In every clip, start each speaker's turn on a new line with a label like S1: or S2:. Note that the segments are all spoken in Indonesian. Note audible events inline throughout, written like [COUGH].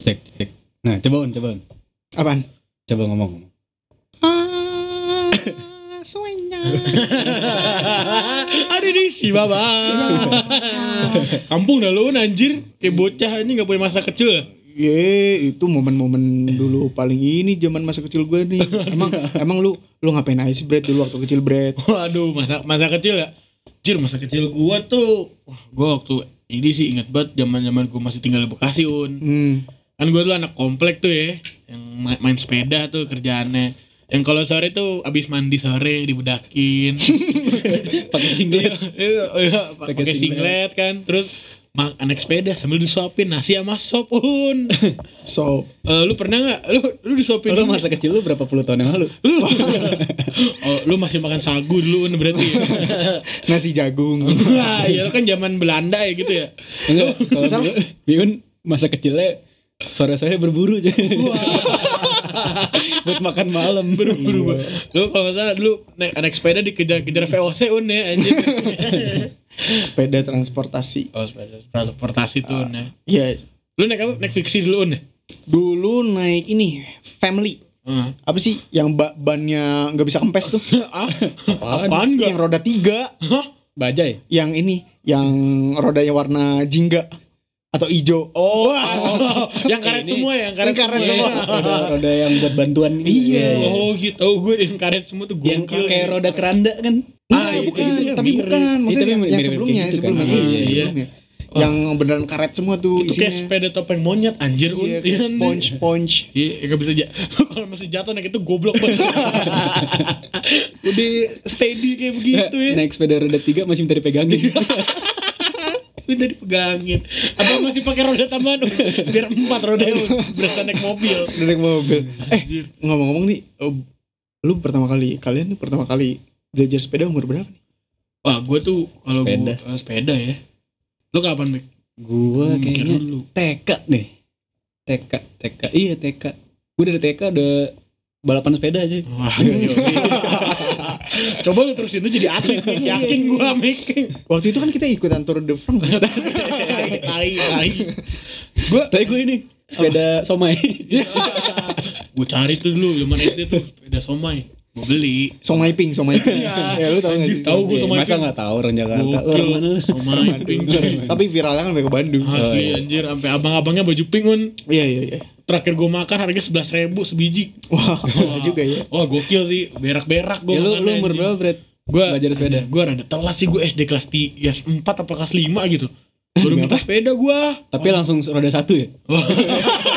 S1: cek cek nah coba on coba on
S2: Apaan?
S1: coba ngomong
S2: Suenya.
S3: [LAUGHS] Ada di si baba. Kampung dah lu anjir. Kayak bocah anjing gak punya masa kecil.
S2: Ye, itu momen-momen dulu paling ini zaman masa kecil gue nih. Emang emang lu lu ngapain aja sih Brad dulu waktu kecil Brad?
S3: Waduh, masa masa kecil ya. Anjir, masa kecil gua tuh wah, gua waktu ini sih ingat banget zaman-zaman gua masih tinggal di Bekasi, Un.
S2: Hmm.
S3: Kan gua dulu anak komplek tuh ya, yang ma- main sepeda tuh kerjaannya. Yang kalau sore tuh abis mandi sore dibedakin.
S1: [LAUGHS] pakai singlet
S3: Iya, iya,
S1: Pakai
S3: pakai
S1: singlet.
S3: singlet kan. Terus mak anak sepeda sambil disuapin nasi sama sop, Un.
S2: So,
S3: Eh, lu pernah nggak lu lu disuapin
S1: lu
S3: ini?
S1: masa kecil lu berapa puluh tahun yang lalu
S3: [LAUGHS] Lu- oh, lu masih makan sagu dulu Un, berarti ya?
S2: nasi
S3: [LAUGHS]
S2: jagung.
S3: Wah, ya lu kan zaman Belanda ya gitu ya
S1: enggak kalau dulu
S2: Salah.
S1: Miun masa kecilnya sore sore berburu aja [LAUGHS] buat makan malam
S3: berburu lu kalau nggak salah dulu naik naik sepeda dikejar-kejar VOC un ya anjir
S2: Sepeda transportasi.
S3: oh sepeda transportasi tuh un ya
S2: Ya,
S3: lu naik apa naik fiksi dulu un ya
S2: dulu naik ini family.
S3: Heeh.
S2: Apa sih yang ba- bannya nggak bisa kempes tuh?
S3: [LAUGHS] ah
S1: Apaan?
S3: apaan
S2: Yang [LAUGHS]
S3: enggak
S2: roda tiga,
S3: hah
S1: bajai
S2: yang ini, yang rodanya warna jingga atau ijo.
S3: oh, yang karet
S1: Ini-
S3: semua ya yang karet,
S2: Yang karet
S3: semua, ya.
S1: Iya, roda, roda yang buat bantuan gitu.
S2: Iya. Oh,
S3: oh gitu oh gue yang karet semua tuh
S1: yang
S3: gokil. ya.
S1: kayak roda keranda kan
S3: Ah,
S2: Iya,
S3: itu-
S2: bukan,
S3: itu kan
S2: tapi
S3: mirip.
S2: bukan.
S1: Iya,
S2: Maksudnya
S1: tapi mirip-
S2: yang, yang
S1: mirip
S2: sebelumnya,
S1: kayak gitu
S2: sebelumnya.
S1: kan.
S2: Iya,
S3: Ah, iya.
S2: sebelumnya. Yang beneran karet semua tuh
S3: itu kayak sepeda topeng monyet anjir un
S2: Iya, kayak
S3: Iya,
S2: sponge, sponge.
S3: Iya, nggak bisa jatuh. [LAUGHS] Kalau masih jatuh naik itu goblok banget. [LAUGHS] Udah steady kayak begitu ya. Iya.
S1: naik sepeda roda tiga masih minta dipegangin
S3: Minta dipegangin. Apa masih pakai roda tambahan? [LAUGHS] Om? Biar empat roda berasa naik mobil.
S2: Udah naik mobil. Eh,
S3: Anjir.
S2: ngomong-ngomong nih, eh, lu pertama kali, kalian nih pertama kali belajar sepeda umur berapa nih?
S3: Wah, gue tuh kalau gua-
S1: Sepeda.
S3: eh, sepeda ya. Lu kapan, Mik?
S1: gua
S3: Mikir
S1: kayaknya
S3: dulu.
S1: TK deh TK TK iya TK gua dari TK udah balapan sepeda aja
S3: Wah, iya. [LAUGHS] Coba lu terusin lu jadi atlet, Mik. Yakin gue, Mik.
S2: Waktu itu kan kita ikutan Tour de France.
S3: Tai, [LAUGHS] tai.
S1: gua tapi gua ini sepeda
S3: Oh.
S1: somai
S3: Gue cari tuh dulu, zaman SD tuh. Sepeda somai. Gue beli.
S2: Somai Pink, Somai Pink.
S3: Iya.
S2: [LAUGHS] ya, lu tau gak
S3: Anjir,
S2: sih?
S3: [LAUGHS] tahu gua
S1: Iya,
S3: somai
S1: masa
S3: pink.
S1: nggak tahu orang Jakarta Lu orang mana
S3: Gokil.
S1: lu? [LAUGHS]
S3: Somai pink coy.
S2: Tapi viralnya kan sampai ke Bandung.
S3: Asli
S1: Oh, iya.
S3: anjir, sampai abang-abangnya baju pink Un.
S2: Iya, iya, iya.
S3: Terakhir gue makan harga sebelas ribu sebiji.
S2: Wah,
S3: Wah.
S2: juga ya.
S3: Wah gokil sih, berak-berak gue
S1: Iya ya, lu lu umur berapa Brad
S3: Gue
S1: belajar
S3: [LAUGHS]
S1: sepeda?
S3: Gue rada telat sih gue SD kelas 3, ya, 4 apa kelas 5 gitu. Baru minta sepeda gue.
S1: Eh, tapi
S3: [LAUGHS]
S1: langsung roda satu ya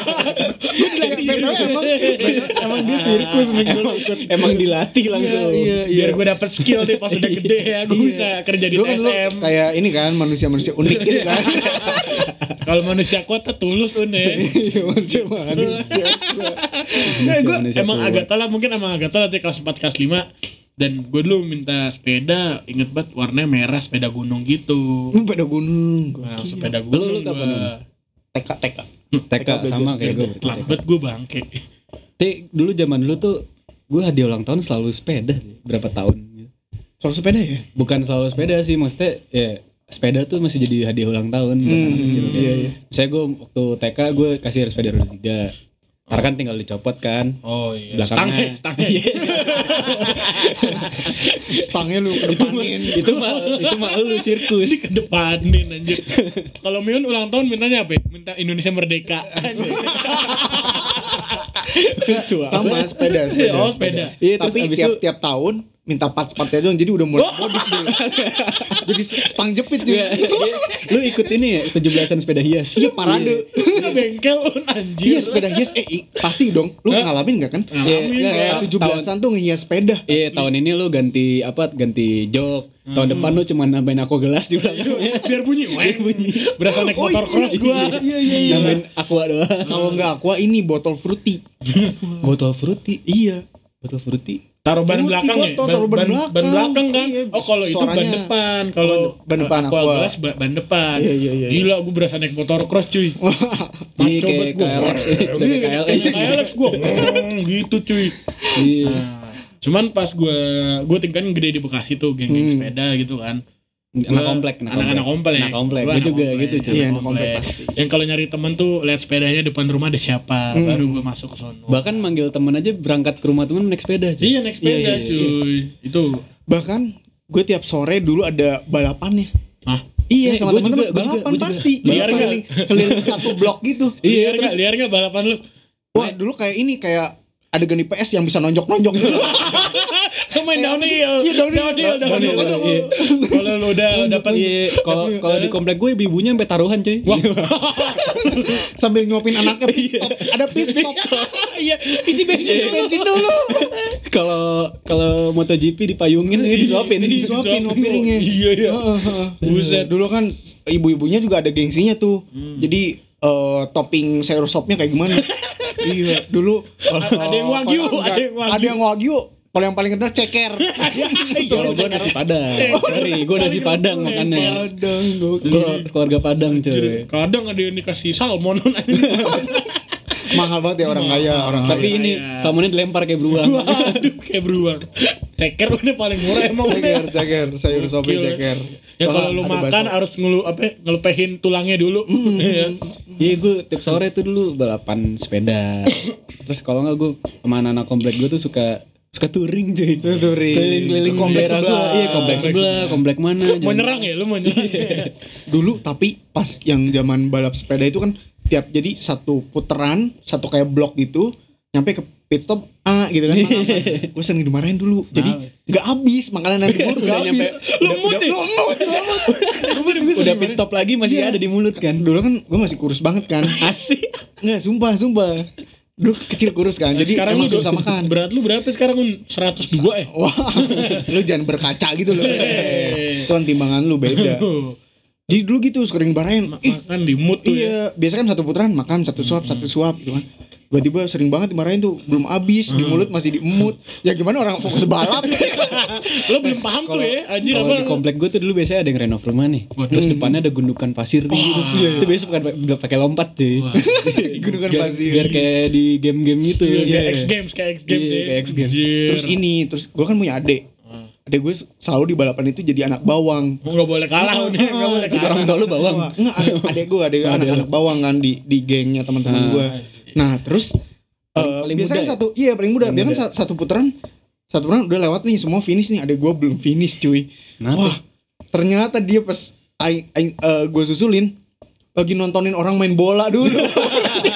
S3: Iya.
S2: Emang, emang dia sirkus minggu lu ikut.
S1: emang dilatih langsung [LAUGHS]
S2: Iya, iya.
S3: Biar gue dapet skill deh pas udah gede ya, gue
S2: Iya.
S3: bisa kerja di
S2: Lu kan lu
S3: TSM.
S2: kayak ini kan manusia-manusia unik gitu kan.
S3: Kalau manusia kota tulus ya.
S1: [LAUGHS]
S3: Une.
S2: [LAUGHS] Iya, manusia-manusia.
S3: Nah, gue
S1: Manusia
S3: emang
S1: tua.
S3: agak telat mungkin emang agak telat ya kelas 4 kelas 5 dan gue dulu minta sepeda inget banget warnanya merah sepeda gunung gitu
S2: Lu pada gunung.
S3: Nah,
S2: Gokil.
S3: sepeda gue
S1: Lu- lu kapan,
S2: TK, TK.
S1: TK sama kayak gue
S3: telat banget gue bangke
S1: Tapi dulu zaman dulu tuh gue hadiah ulang tahun selalu sepeda sih, berapa tahun gitu.
S2: Soal sepeda ya?
S1: Bukan selalu sepeda sih, maksudnya ya sepeda tuh masih jadi hadiah ulang tahun buat anak
S2: Hmm,
S1: kecil.
S2: iya, iya.
S1: Misalnya gue waktu TK gue kasih sepeda roda tiga. Ntar kan tinggal dicopot kan.
S3: oh iya
S1: Belakangnya.
S3: belakangnya stangnya [LAUGHS]
S2: Stangnya lu ke depanin.
S1: [LAUGHS] itu mah itu mah lu sirkus.
S3: Ini kedepanin anjir kalau Mion ulang tahun mintanya apa ya? minta Indonesia merdeka [LAUGHS]
S1: itu apa?
S2: Sama sepeda, sepeda.
S3: oh sepeda
S1: Iya terus
S2: Tapi
S1: abis
S2: tiap
S1: itu
S2: tiap tahun minta parts-partnya doang. Jadi udah mulai
S3: Oh!
S2: modif
S3: [LAUGHS]
S2: dulu. Jadi stang jepit
S1: Iya,
S2: juga.
S1: iya. lu ikut ini ya 17-an sepeda hias.
S2: Iya, parade.
S3: Kita bengkel Un, anjir
S2: Iya, sepeda hias eh i- pasti dong. Lu
S3: Hah?
S2: ngalamin gak kan?
S1: Iya,
S3: Ngalamin
S1: iya,
S2: Kayak
S1: tahun-
S2: 17-an tuh ngehias sepeda.
S1: Iya tahun ini lu ganti apa ganti jok tahun depan lu cuma nambahin aku gelas di belakangnya
S3: Iya, biar bunyi weng bunyi berasa naik
S2: Oh,
S3: motor
S2: iya,
S3: cross gue
S1: iya iya iya nambahin aqua doang
S2: Kalau nggak aqua ini botol fruity.
S1: botol fruity
S2: Iya.
S1: botol fruity
S3: taruh ban
S2: Fruity
S3: belakang ya
S2: botol, taruh ban belakang.
S3: belakang kan
S2: Iya,
S3: oh kalau itu ban
S2: suaranya-
S3: depan kalau
S2: ban depan,
S3: aku
S2: aqua.
S3: gelas ba- ban depan
S2: Iya, iya, iya, iya.
S3: gila gue berasa naik motor cross
S1: Ini
S3: cuy Maco
S1: kayak
S3: banget Iya, gue
S1: KLX ya, udah kayak KLX.
S3: KLX gue gitu cuy
S1: iya
S3: Nah, cuman pas gue gue tingkat gede di Bekasi tuh geng-geng
S2: Hmm.
S3: sepeda gitu kan
S1: anak komplek anak
S3: anak-anak komplek.
S1: anak komplek
S3: Gua
S1: gue
S3: anak
S1: juga
S3: komplek.
S1: gitu cuy
S2: Iya, anak
S3: Komplek.
S2: komplek pasti.
S3: Yang kalau nyari temen tuh lihat sepedanya depan rumah ada siapa,
S2: Hmm.
S3: baru gue masuk ke sono.
S1: bahkan manggil temen aja berangkat ke rumah temen naik sepeda cuy
S3: iya naik sepeda
S2: Iya, iya,
S3: cuy. Itu
S2: [LAUGHS] Bahkan gue tiap sore dulu ada balapannya.
S3: Hah?
S2: Iya,
S1: Eh, gua
S2: sama
S1: juga, gua
S2: teman-teman
S1: juga,
S2: balapan
S1: gua juga.
S2: pasti.
S3: Liar nggak?
S2: keliling, keliling satu blok gitu.
S3: [LAUGHS] iya, liar
S1: terus-
S3: nggak liar nggak balapan lu?
S2: Wah, dulu kayak ini kayak adegan di PS yang bisa nonjok-nonjok
S3: [LAUGHS]
S2: gitu.
S3: Lu main
S2: Iya,
S3: downhill.
S2: iya, downhill.
S3: downhill, downhill.
S1: Downhill,
S3: Iya. Kalau lu udah dapat
S1: Iya, kalau kalau di komplek gue ibunya sampai taruhan cuy Iya.
S3: Wah.
S2: Sambil nyuapin anaknya pit stop. Ada pit stop.
S3: [LAUGHS] iya, isi bensin
S2: Isi
S3: dulu.
S2: bensin
S3: [LAUGHS]
S2: dulu.
S1: kalau kalau MotoGP dipayungin ini disuapin
S2: Disuapin sama piringnya.
S3: Iya, iya.
S2: Heeh, heeh.
S3: Buset.
S2: Dulu kan ibu-ibunya juga ada gengsinya tuh.
S3: Hmm.
S2: Jadi eh, topping sayur sopnya kayak
S3: [LAUGHS]
S2: gimana? iya, dulu kalau-
S3: Ada yang wagyu,
S2: kalau-
S3: ada yang wagyu. Iya,
S2: Ada yang wagyu. Kalau yang paling kental ceker.
S3: [LAUGHS]
S1: Kalau gue nasi
S2: Iya.
S1: padang, sorry, gue nasi padang makannya.
S2: Padang
S1: Gue
S2: gokil.
S1: keluarga padang cuy.
S3: Jadi, kadang ada yang dikasih salmon [LAUGHS] anjing.
S2: Mahal banget ya orang kaya, orang
S1: Tapi
S2: kaya.
S1: ini salmonnya dilempar kayak beruang.
S3: Waduh, kayak beruang. Ceker udah paling murah emang.
S2: ceker, ceker, sayur sobe
S3: Gokil.
S2: ceker.
S3: Ya kalau lu
S2: ada
S3: makan
S2: bakso.
S3: harus ngelu apa ngelepehin tulangnya dulu. [LAUGHS] Iya.
S1: Iya gue tiap sore tuh dulu balapan sepeda. Terus kalau nggak gue sama anak-anak komplek gue tuh suka suka touring cuy.
S2: Suka touring.
S1: Keliling-keliling
S2: Ke komplek
S1: daerah gua.
S2: sebelah.
S1: Iya komplek
S3: Komplek
S1: sebelah,
S3: sebelah.
S1: komplek mana.
S3: Mau
S1: jalan-
S3: nyerang ya, lu mau nyerang.
S2: dulu tapi pas yang zaman balap sepeda itu kan tiap jadi satu puteran satu kayak blok gitu nyampe ke pit stop A gitu kan
S1: Iya.
S2: gue sering dimarahin dulu jadi nggak habis makanan dari mulut nggak
S1: Udah
S2: habis
S1: nyampe-
S2: Udah-
S3: lemut
S2: udah-
S3: ya?
S2: lemut lemut Lemut, gua sering
S1: Udah pit
S2: dimarahin.
S1: stop lagi masih
S2: Iya.
S1: ada di mulut kan.
S2: dulu kan gue masih kurus banget kan
S1: [LAUGHS] Asik.
S2: nggak sumpah sumpah dulu kecil kurus kan jadi
S3: Nah, sekarang
S2: emang
S3: lu
S2: susah makan
S3: Berat lu berapa sekarang? Un? 102 ya?
S1: [LAUGHS]
S2: wah lu jangan berkaca gitu
S1: Iya,
S2: loh
S3: Hehehe.
S2: itu kan timbangan lu beda
S3: Tuh,
S2: jadi dulu gitu sering dimarahin
S3: [LAUGHS] ma-
S2: ih
S3: Makan di mood tuh ya.
S2: Iya, biasa kan satu putaran makan satu suap, satu suap gitu kan. Tiba-tiba sering banget dimarahin tuh, belum habis, di mulut masih diemut. Ya gimana orang
S1: [LAUGHS]
S2: fokus balap?
S3: Lu belum paham tuh
S1: Kalau-
S3: ya, anjir
S1: Kalau
S3: apa?
S1: Oh, di komplek gue tuh dulu biasanya ada yang renov rumah nih.
S3: Waduh.
S1: Terus depannya ada gundukan pasir tuh gitu. Itu biasanya suka udah pakai lompat cuy.
S3: Wah.
S2: Gunungan
S1: Biar, biar
S2: pasir.
S1: kayak di game-game gitu.
S3: Iya, kayak
S2: Iya.
S3: X Games, kayak X Games
S1: Iya,
S3: ya.
S1: kayak X Games.
S3: Anjir.
S2: Terus ini, terus gua kan punya adik.
S3: Ah.
S2: Adek gue selalu di balapan itu jadi anak bawang.
S3: Gua nggak boleh kalah udah, nggak boleh
S1: Oh, Jadi
S3: kalah.
S1: orang tua lu bawang.
S2: Enggak,
S1: [LAUGHS]
S2: adek- adek gue, adek gue
S1: Oh, adek
S2: anak-anak bawang kan di di gengnya teman-teman
S1: Ah.
S2: gue. Nah, terus
S1: Paling-
S2: eh,
S1: paling muda
S2: biasanya
S1: ya?
S2: satu iya paling muda,
S1: Paling
S2: biasanya
S1: muda.
S2: sa- satu putaran satu putaran udah lewat nih semua finish nih, adek gue belum finish cuy. Wah,
S1: Kenapa?
S2: ternyata dia pas ai- ai- eh, gue susulin lagi nontonin orang main bola dulu.
S1: [LAUGHS]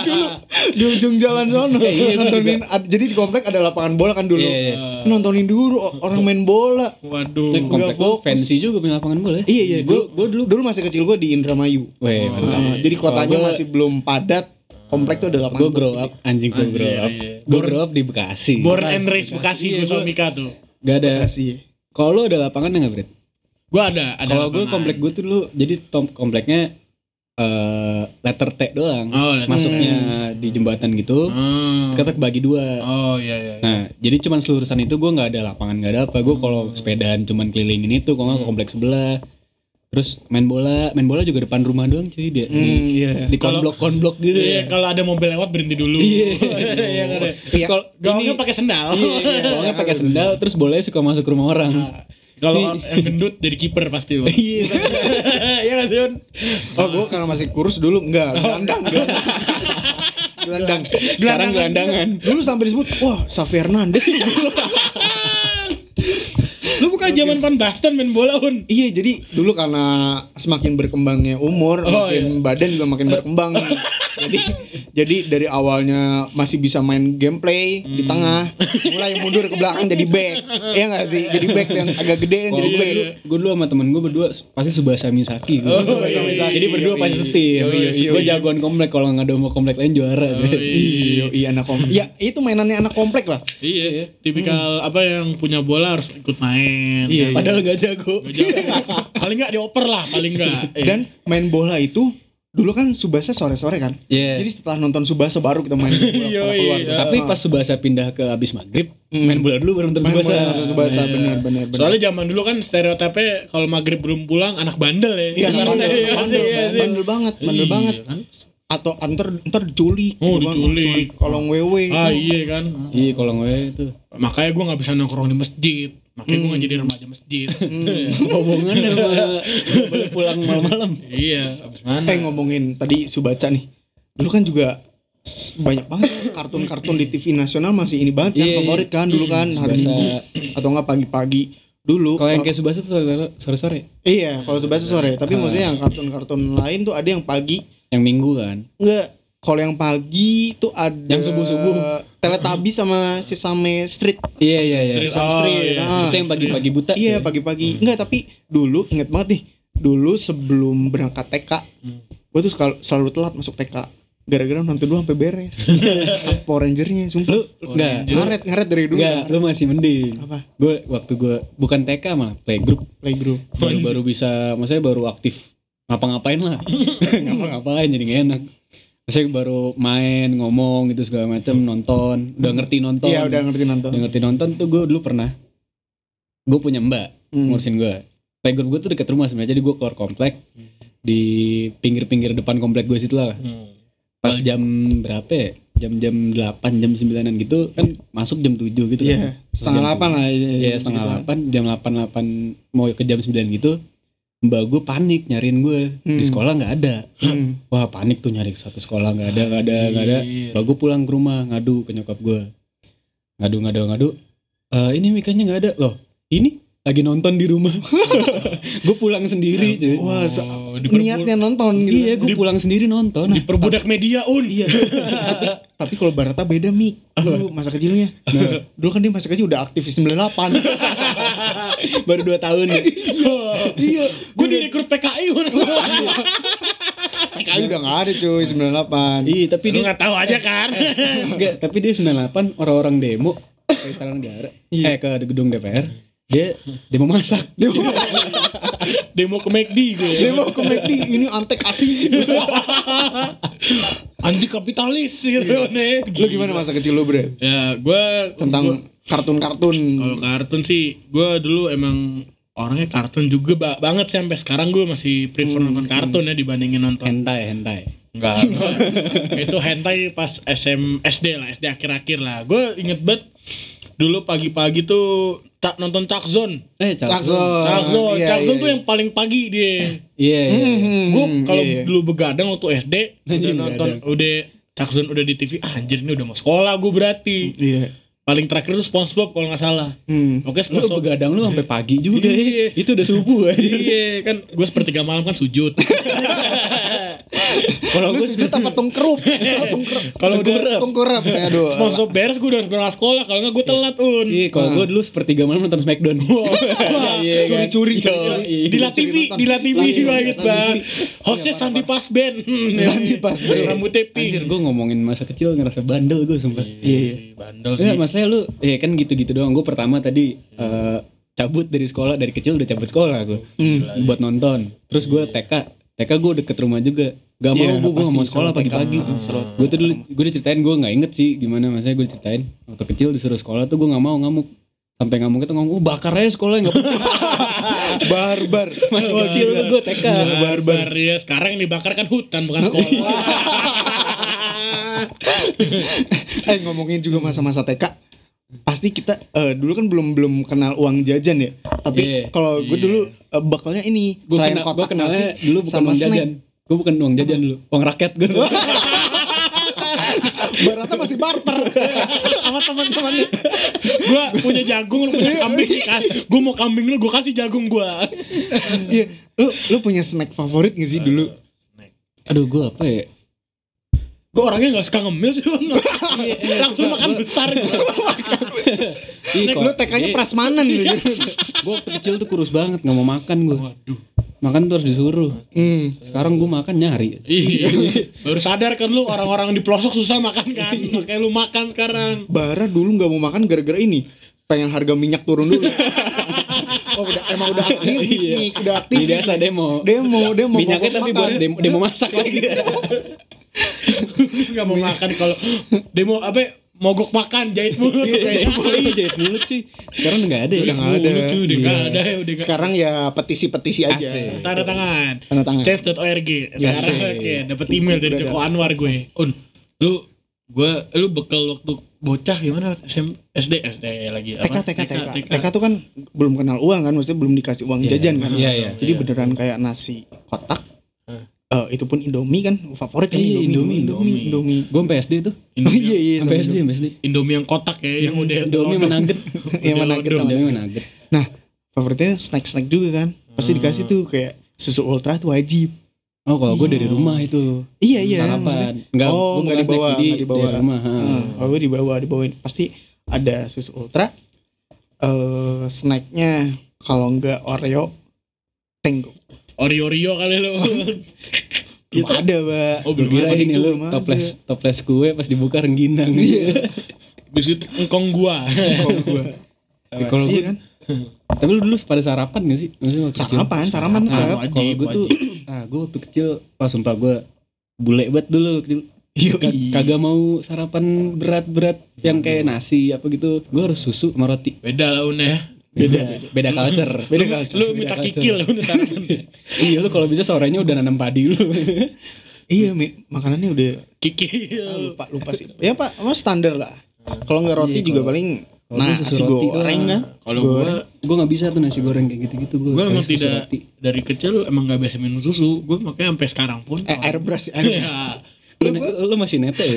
S2: dulu di ujung jalan sono.
S1: Iya, iya, itu
S2: nontonin ad- jadi di komplek ada lapangan bola kan dulu.
S1: Iya, iya.
S2: Nontonin dulu o- orang main bola.
S3: Waduh.
S1: Tapi komplek
S2: Nggak
S1: lu
S2: fokus.
S1: fancy juga punya lapangan bola. ya?
S2: Iya iya,
S1: Gua
S2: dulu gua dulu dulu masih kecil gua di Indramayu.
S1: Weh,
S3: Oh,
S1: mantap.
S2: Nah,
S3: iya.
S2: jadi kotanya
S1: Kalau gua-
S2: masih belum padat. Komplek tuh ada lapangan.
S1: Gue grow up, anjing gue
S3: Anjir,
S1: grow up.
S3: iya.
S1: Gue
S3: Born-
S1: grow up di Bekasi.
S3: Born and raised Bekasi
S1: Iya,
S3: gue sama
S1: gua-
S3: Mika tuh.
S1: Gak ada.
S2: Bekasi.
S1: Kalau lu ada lapangan nggak Brit?
S3: Gua ada, ada.
S1: Kalau gue
S3: lapangan.
S1: komplek gue tuh dulu, jadi tom kompleknya eh letter T doang.
S3: Oh, lihat.
S1: Masuknya di jembatan gitu.
S3: Hmm.
S1: Kata bagi dua.
S3: Oh, iya iya. iya.
S2: Hmm.
S1: Nah, jadi cuman selurusan itu gue nggak ada lapangan, nggak ada apa. Gue kalau sepedaan cuman kelilingin itu, kalau nggak
S2: Hmm.
S1: ke kompleks sebelah. Terus main bola, main bola juga depan rumah doang cuy dia.
S2: Hmm, iya.
S1: Di, di
S3: Kalau-
S1: konblok-konblok gitu
S3: Iya,
S1: ya.
S3: kalau ada mobil lewat berhenti dulu.
S1: Iya.
S3: [LAUGHS] Iya, kan. ya.
S1: Terus
S2: Iya.
S1: kalau
S3: Gaungnya
S1: ini-
S3: pakai sendal.
S1: Iya, iya, [LAUGHS] gaungnya pakai sendal, terus bolanya suka masuk ke rumah orang.
S3: [LAUGHS]
S2: Ah,
S3: Kalau yang gendut jadi kiper pasti. Bang.
S1: Iya.
S3: [LAUGHS] Iya kan, Sion?
S2: Oh, gua karena masih kurus dulu enggak, gelandang, gelandang. gelandang.
S1: Sekarang gelandangan.
S2: Dulu sampai disebut, wah, Xavi Hernandez lu.
S3: Lu bukan zaman Van Basten main bola, Un.
S2: Iya jadi dulu karena semakin berkembangnya umur,
S3: Oh,
S2: makin badan juga makin berkembang. nih. jadi jadi dari awalnya masih bisa main gameplay di tengah, mulai mundur ke belakang jadi back. Iya nggak sih? Jadi back yang agak gede yang
S1: Kalau
S2: jadi ya.
S1: gue
S2: back.
S1: dulu, gue dulu sama temen gue berdua pasti Subasa Misaki.
S3: Oh,
S2: Tsubasa Misaki,
S1: Jadi berdua
S2: yoi.
S1: pasti setim.
S2: iya,
S3: Yoi, yoi,
S1: Gue
S3: yoi.
S1: jagoan komplek kalau nggak ada mau komplek lain juara.
S3: Yoi.
S1: sih.
S2: Iya, iya anak komplek. Ya itu mainannya anak komplek lah.
S3: Iya, tipikal apa yang punya bola harus ikut main.
S2: Hmm.
S3: kan?
S2: Iya, iya.
S1: Padahal nggak jago.
S3: Gak jago. paling nggak dioper lah, paling nggak. Eh,
S2: [LAUGHS] Iya. Dan main bola itu dulu kan Subasa sore-sore kan.
S1: Iya.
S2: Jadi setelah nonton Subasa baru kita main bola
S3: Yoi.
S2: keluar.
S1: Tapi pas Subasa pindah ke abis maghrib,
S2: Hmm.
S1: main bola dulu baru nonton
S2: Main bola
S1: Subasa.
S2: nonton Tsubasa
S3: Iya.
S2: benar benar benar.
S3: Soalnya zaman dulu kan stereotipnya kalau maghrib belum pulang anak bandel ya.
S2: Iya, anak bandel,
S3: Iya,
S2: bandel,
S3: iya, iya.
S2: bandel banget, bandel
S3: Iya,
S2: banget.
S3: kan?
S2: atau antar ntar diculik
S3: Oh,
S2: gitu kan,
S3: diculik.
S2: kolong wewe
S3: Ah iya kan.
S1: Iya, kalau gue itu.
S3: Makanya gue nggak bisa nongkrong di masjid. Makanya gue gak
S2: Hmm.
S3: jadi remaja masjid. [LAUGHS]
S2: Hmm.
S1: Apa [LAUGHS] hubungannya sama nggak boleh pulang malam-malam?
S3: iya, abis mana?
S2: Eh ngomongin tadi Subaca nih. Dulu kan juga s- banyak banget kartun-kartun di TV nasional masih ini banget kan
S1: Iya, iya.
S2: favorit kan dulu kan hari
S1: Subasa.
S2: Minggu atau enggak pagi-pagi dulu.
S1: Kalau yang
S2: kalau-
S1: kayak Subasa tuh sore- sore-sore,
S2: iya, kalau Subasa sore,
S1: Ah.
S2: tapi maksudnya yang kartun-kartun lain tuh ada yang pagi.
S1: yang Minggu kan.
S2: Enggak, kalau yang pagi tuh ada
S1: Yang subuh-subuh.
S2: Teletubby sama Sesame Street.
S1: Iya iya iya.
S3: Terus
S2: Oh,
S3: Astri,
S2: iya.
S3: ya.
S1: Itu yang pagi-pagi buta.
S2: Iya,
S1: tuh.
S2: pagi-pagi. Enggak, tapi dulu inget banget nih. Dulu sebelum berangkat TK,
S3: Hmm.
S2: gue tuh sekal- selalu telat masuk TK. Gara-gara nanti dulu sampai
S1: [LAUGHS]
S2: beres. Power Ranger-nya, sumpah.
S1: Lu enggak.
S3: Jadi-
S2: ngaret ngaret dari dulu
S1: Enggak, lu masih mending.
S2: apa
S1: Gue waktu gue bukan TK malah playgroup
S2: playgroup
S1: baru baru bisa maksudnya baru aktif ngapa-ngapain
S2: [LAUGHS]
S1: lah ngapa-ngapain jadi gak enak maksudnya baru main ngomong gitu segala macam nonton udah ngerti nonton
S2: iya udah ngerti nonton
S1: Udah ngerti nonton tuh gue dulu pernah gue punya mbak
S2: Hmm.
S1: ngurusin gue playgroup gue tuh dekat rumah sebenarnya jadi gue keluar komplek di pinggir-pinggir depan komplek gue situ lah
S3: Hmm.
S1: pas
S3: Balik.
S1: jam berapa ya jam-jam 8 jam 9an gitu kan masuk jam 7 gitu kan
S2: iya setengah
S1: Jam
S2: delapan lah iya
S1: Iya setengah delapan jam delapan delapan mau ke jam sembilan gitu mbak gue panik nyariin gue di
S2: Hmm.
S1: sekolah nggak ada
S2: Hmm.
S1: wah panik tuh nyari satu sekolah nggak ada nggak ada nggak ada
S3: Anjir.
S1: mbak gue pulang ke rumah ngadu ke nyokap gue ngadu ngadu ngadu Eh ini mikanya nggak ada loh ini lagi nonton di rumah [LAUGHS] gue pulang sendiri jadi
S2: Wah,
S3: Oh,
S2: se-
S3: diperbu-
S2: niatnya nonton gitu
S1: iya gue pulang sendiri nonton
S3: diperbudak media un. [LAUGHS]
S2: iya tapi, tapi kalau Barata beda Mi dulu masa kecilnya nah, dulu kan dia masa kecil udah aktivis
S1: [LAUGHS]
S2: 98
S1: baru dua tahun ya.
S2: iya
S3: Gue direkrut PKI un.
S2: kayu udah gak ada cuy 98
S1: Nah. iya tapi
S3: Lu
S1: dia
S3: nggak tahu aja kan?
S2: Eh.
S1: Enggak, tapi dia 98 orang-orang demo ke istana negara, eh
S2: Iya.
S1: ke gedung DPR, dia demo masak.
S2: dia mau,
S3: Demo ke McD gue.
S2: dia mau ke McD ini antek
S1: [LAUGHS]
S2: asing
S3: Anti kapitalis gitu nih.
S2: lu gimana masa kecil lu bre
S3: Ya gue
S2: tentang kartun-kartun
S3: Kalau kartun sih, gue dulu emang orangnya kartun juga ba- banget sih sampai sekarang gue masih prefer
S2: Hmm,
S3: nonton kartun ya dibandingin nonton
S1: Hentai, hentai.
S3: enggak
S2: [LAUGHS]
S3: itu hentai pas SM SD lah SD akhir-akhir lah gue inget banget dulu pagi-pagi tuh tak nonton Chuck Zone
S1: Eh,
S2: Cakzon.
S1: cakso.
S3: Chuck Zone
S2: iya,
S3: Chuck
S2: iya,
S3: Zone tuh
S2: iya.
S3: yang paling pagi dia
S1: Iya, iya, iya.
S2: Hmm,
S3: gue kalau
S2: iya.
S3: dulu begadang waktu SD udah
S1: Anjing,
S3: nonton
S1: begadang.
S3: udah Chuck Zone udah di TV ah, anjir ini udah mau sekolah gue berarti
S2: iya
S3: paling terakhir tuh SpongeBob kalau nggak salah
S2: Hmm.
S3: oke
S1: Lu
S3: SpongeBob
S1: begadang lu sampai pagi juga.
S3: Iya.
S1: Itu udah subuh. anjing.
S3: Iya kan gue sepertiga malam kan
S2: [LAUGHS]
S3: sujud.
S1: Kalau
S2: Lu
S1: gue
S2: sujud apa tungkerup? Kalau tungkerup.
S3: Kalau udah-
S2: tungkerup, tungkerup. Aduh.
S3: Sponsor beres gue udah harus berangkat sekolah kalau nggak gue telat un.
S1: Iya, kalau
S2: Ah.
S3: Nah.
S1: gue dulu sepertiga malam nonton Smackdown.
S2: Iya, kan? Curi-curi,
S1: Yo,
S2: curi-curi.
S1: iya.
S3: Di La TV,
S2: Nonton.
S3: di La TV
S2: Lanjut,
S3: banget
S2: lanjut.
S3: banget. Hostnya
S2: Iya,
S3: Sandi Pasben.
S2: Sandi Pasben.
S3: Rambutnya
S1: [LAUGHS] Anjir,
S3: pink.
S1: gue ngomongin masa kecil ngerasa bandel gue sumpah.
S3: Iya, sih, bandel sih.
S1: Iya, maksudnya lu ya kan gitu-gitu doang. Gue pertama tadi eh, cabut dari sekolah dari kecil udah cabut sekolah gue.
S2: Hmm.
S3: Gila sih.
S1: buat nonton. Terus gue TK, TK gue deket rumah juga. Gak mau
S2: Iya,
S1: gue, gue gak
S2: pasti
S1: mau sekolah
S2: seru TK.
S1: pagi-pagi.
S2: Hmm, seru.
S1: Gue tuh dulu, gue diceritain gue gak inget sih gimana maksudnya gue diceritain. Waktu kecil disuruh sekolah tuh gue gak mau ngamuk. Sampai ngamuk itu ngomong, oh bakar aja sekolah gak apa-apa.
S2: Barbar.
S1: Masih
S2: Wah,
S1: kecil
S2: gila.
S1: gue TK.
S2: Gila, Barbar.
S3: Barbar ya sekarang yang dibakar kan hutan bukan
S2: Iya.
S3: sekolah.
S2: Eh ngomongin juga masa-masa TK. Pasti kita eh, dulu kan belum belum kenal uang jajan ya. Tapi
S1: Iya.
S2: kalau gue
S3: Iya.
S2: dulu eh, bakalnya ini
S1: Gue
S2: selain
S1: kena,
S2: kotak
S1: gue kenalnya
S2: nasi,
S1: dulu bukan
S2: sama
S1: uang
S2: snack.
S1: jajan. Gue bukan uang jajan dulu, uang rakyat gue.
S2: Barata masih barter [LAUGHS] sama teman-temannya.
S3: gue punya jagung lu punya kambing kan. Gue mau kambing lu gue kasih jagung gue.
S2: Iya, lu lu punya snack favorit gak sih dulu?
S1: [LAUGHS] Aduh gue apa ya?
S3: Gue orangnya gak suka ngemil sih Bang.
S2: Iya,
S3: Langsung makan besar gue.
S1: Ih,
S2: Lu
S1: Iya.
S2: TK-nya prasmanan gitu.
S1: Gue kecil tuh kurus banget, gak mau makan gue.
S3: Waduh.
S1: Makan tuh harus disuruh.
S2: Hmm.
S1: Sekarang gue makan nyari.
S3: Iya. Baru sadar kan lu orang-orang di pelosok susah makan kan.
S2: Iya.
S3: Makanya lu makan sekarang.
S2: Bara dulu nggak mau makan gara-gara ini pengen harga minyak turun dulu. oh udah emang
S1: [LAUGHS]
S2: udah aktivis
S1: Iya.
S2: nih, udah
S1: Di
S2: aktivis.
S1: desa demo.
S2: Demo, demo
S1: Minyaknya tapi buat
S2: makan.
S1: demo, demo masak lagi.
S3: Gak
S2: Iya.
S3: mau makan kalau demo apa ya, mogok makan jahit mulut.
S2: Iya, jahit
S1: Iya, jahit mulut cuy. Sekarang nggak ada
S2: Udah
S1: ya.
S2: nggak ada.
S3: Mulut tuh, udah nggak
S2: Iya.
S3: ada ya, udah nggak-
S2: Sekarang ya petisi-petisi aja.
S1: Asik.
S3: Tanda tangan.
S2: Tanda tangan.
S3: Chef.org. Sekarang
S1: Asik.
S3: Iya, oke dapat email dari
S2: Udah
S3: Joko Anwar gue. Un, lu gue lu bekal waktu bocah gimana SM, SD SD lagi
S2: TK, TK, TK, TK. tuh kan belum kenal uang kan, maksudnya belum dikasih uang
S1: Iya.
S2: jajan kan.
S1: Iya, iya.
S2: Jadi beneran kayak nasi kotak.
S3: Hah.
S2: Eh, itu pun Indomie kan, favorit kan
S1: Iya, Indomie,
S2: Indomie, Indomie, Indomie.
S1: Gue PSD tuh.
S2: Oh,
S3: Indomie,
S2: [LAUGHS] iya, iya,
S1: Sampai SD, SD.
S3: Indomie yang kotak ya yang
S2: Yang
S3: udah
S1: Indomie sama nugget.
S2: Yang mana iya, kita ya.
S1: Indomie sama nugget.
S2: favoritnya snack-snack juga kan. Pasti
S3: Hmm.
S2: dikasih tuh kayak susu ultra tuh wajib.
S1: Oh, kalau gue dari rumah itu.
S2: Iya, iya. maksudnya-
S1: Sarapan. Enggak, gua
S2: Oh, nggak
S1: bukan snack,
S2: dibawa,
S1: jadi
S2: nggak dibawa. Hmm.
S1: Dari rumah. ha.
S2: Heeh, kalau gue dibawa, dibawain pasti ada susu ultra. Eh, snacknya kalau enggak Oreo Tenggo.
S3: Oreo Oreo kali
S2: [LAUGHS]
S3: lo
S1: Iya,
S2: Belum
S3: Gitu.
S2: ada, Pak.
S3: oh
S1: Gue
S3: belum
S1: kira
S2: Belum ada
S1: ini
S2: itu,
S1: lu
S2: belum ada.
S1: toples toples kue pas dibuka rengginang.
S2: Iya,
S3: biskuit engkong gua
S2: kalau gua.
S1: Ya, [LAUGHS] Kalau
S2: Iya
S1: gue,
S2: kan?
S1: tapi lu dulu pada sarapan gak sih? Maksudnya waktu kecil?
S2: Sarapan, sarapan Iya,
S1: Nah,
S2: tetap.
S3: wajib,
S1: kalau gue tuh, [CLEARS THROAT] ah gue waktu kecil, pas sumpah gue bule banget dulu kecil.
S2: Iya,
S1: Ka- kagak mau sarapan berat-berat yang kayak nasi apa gitu. Gue harus susu sama roti.
S3: beda lah Una ya
S1: Beda beda culture.
S2: Beda
S3: Lu-
S2: culture,
S3: lu
S1: beda
S3: minta
S1: culture.
S3: kikil udah
S2: [LAUGHS]
S3: sarapan
S1: iya lu kalau bisa sorenya udah nanam padi lu. [LAUGHS]
S2: Iya, Mi. makanannya udah ah,
S3: kikil
S2: lupa lupa sih. Ya Pak, emang standar lah. Kalau nggak roti
S1: Iya, kalau-
S2: juga paling nah nasi goreng kan.
S3: kalau
S2: Nasi
S3: gua
S2: goreng.
S1: Gue nggak bisa tuh nasi goreng kayak gitu-gitu gue.
S3: Gua emang tidak- dari kecil emang gak biasa minum susu gue makanya sampai sekarang pun
S2: eh
S3: [LAUGHS]
S2: airbrush sih,
S1: Iya.
S2: airbrush.
S3: ya
S1: Lu, lu masih nete ya?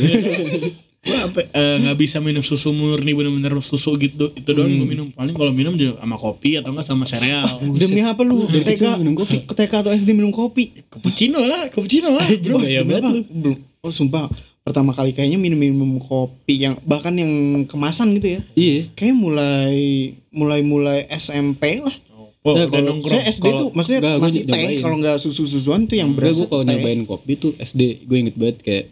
S3: gue sampai eh, nggak bisa minum susu murni bener-bener susu gitu itu doang
S2: Hmm.
S3: gue minum paling kalau minum juga sama kopi atau enggak sama sereal
S2: [LAUGHS] Demi apa lu?
S1: Dari kecil
S2: TK
S1: minum kopi.
S2: ke TK atau SD minum kopi.
S3: cappuccino lah cappuccino lah
S1: Anjing,
S3: bro
S1: gaya
S2: Demi
S1: banget
S2: apa?
S1: lu.
S2: iya, Belum. Oh sumpah, pertama kali kayaknya minum-minum kopi yang bahkan yang kemasan gitu ya.
S1: Iya.
S2: Kayak mulai mulai mulai SMP lah.
S3: oh,
S1: Nah,
S3: udah
S1: kalau
S3: nongkrong
S2: Saya SD
S1: Kalau-
S2: tuh maksudnya
S1: nggak, gua
S2: masih teh
S1: nyobain.
S2: kalau nggak susu-susuan tuh yang
S1: Enggak,
S2: berasa
S1: gue kalau
S2: teh.
S1: nyobain kopi tuh SD gue inget banget kayak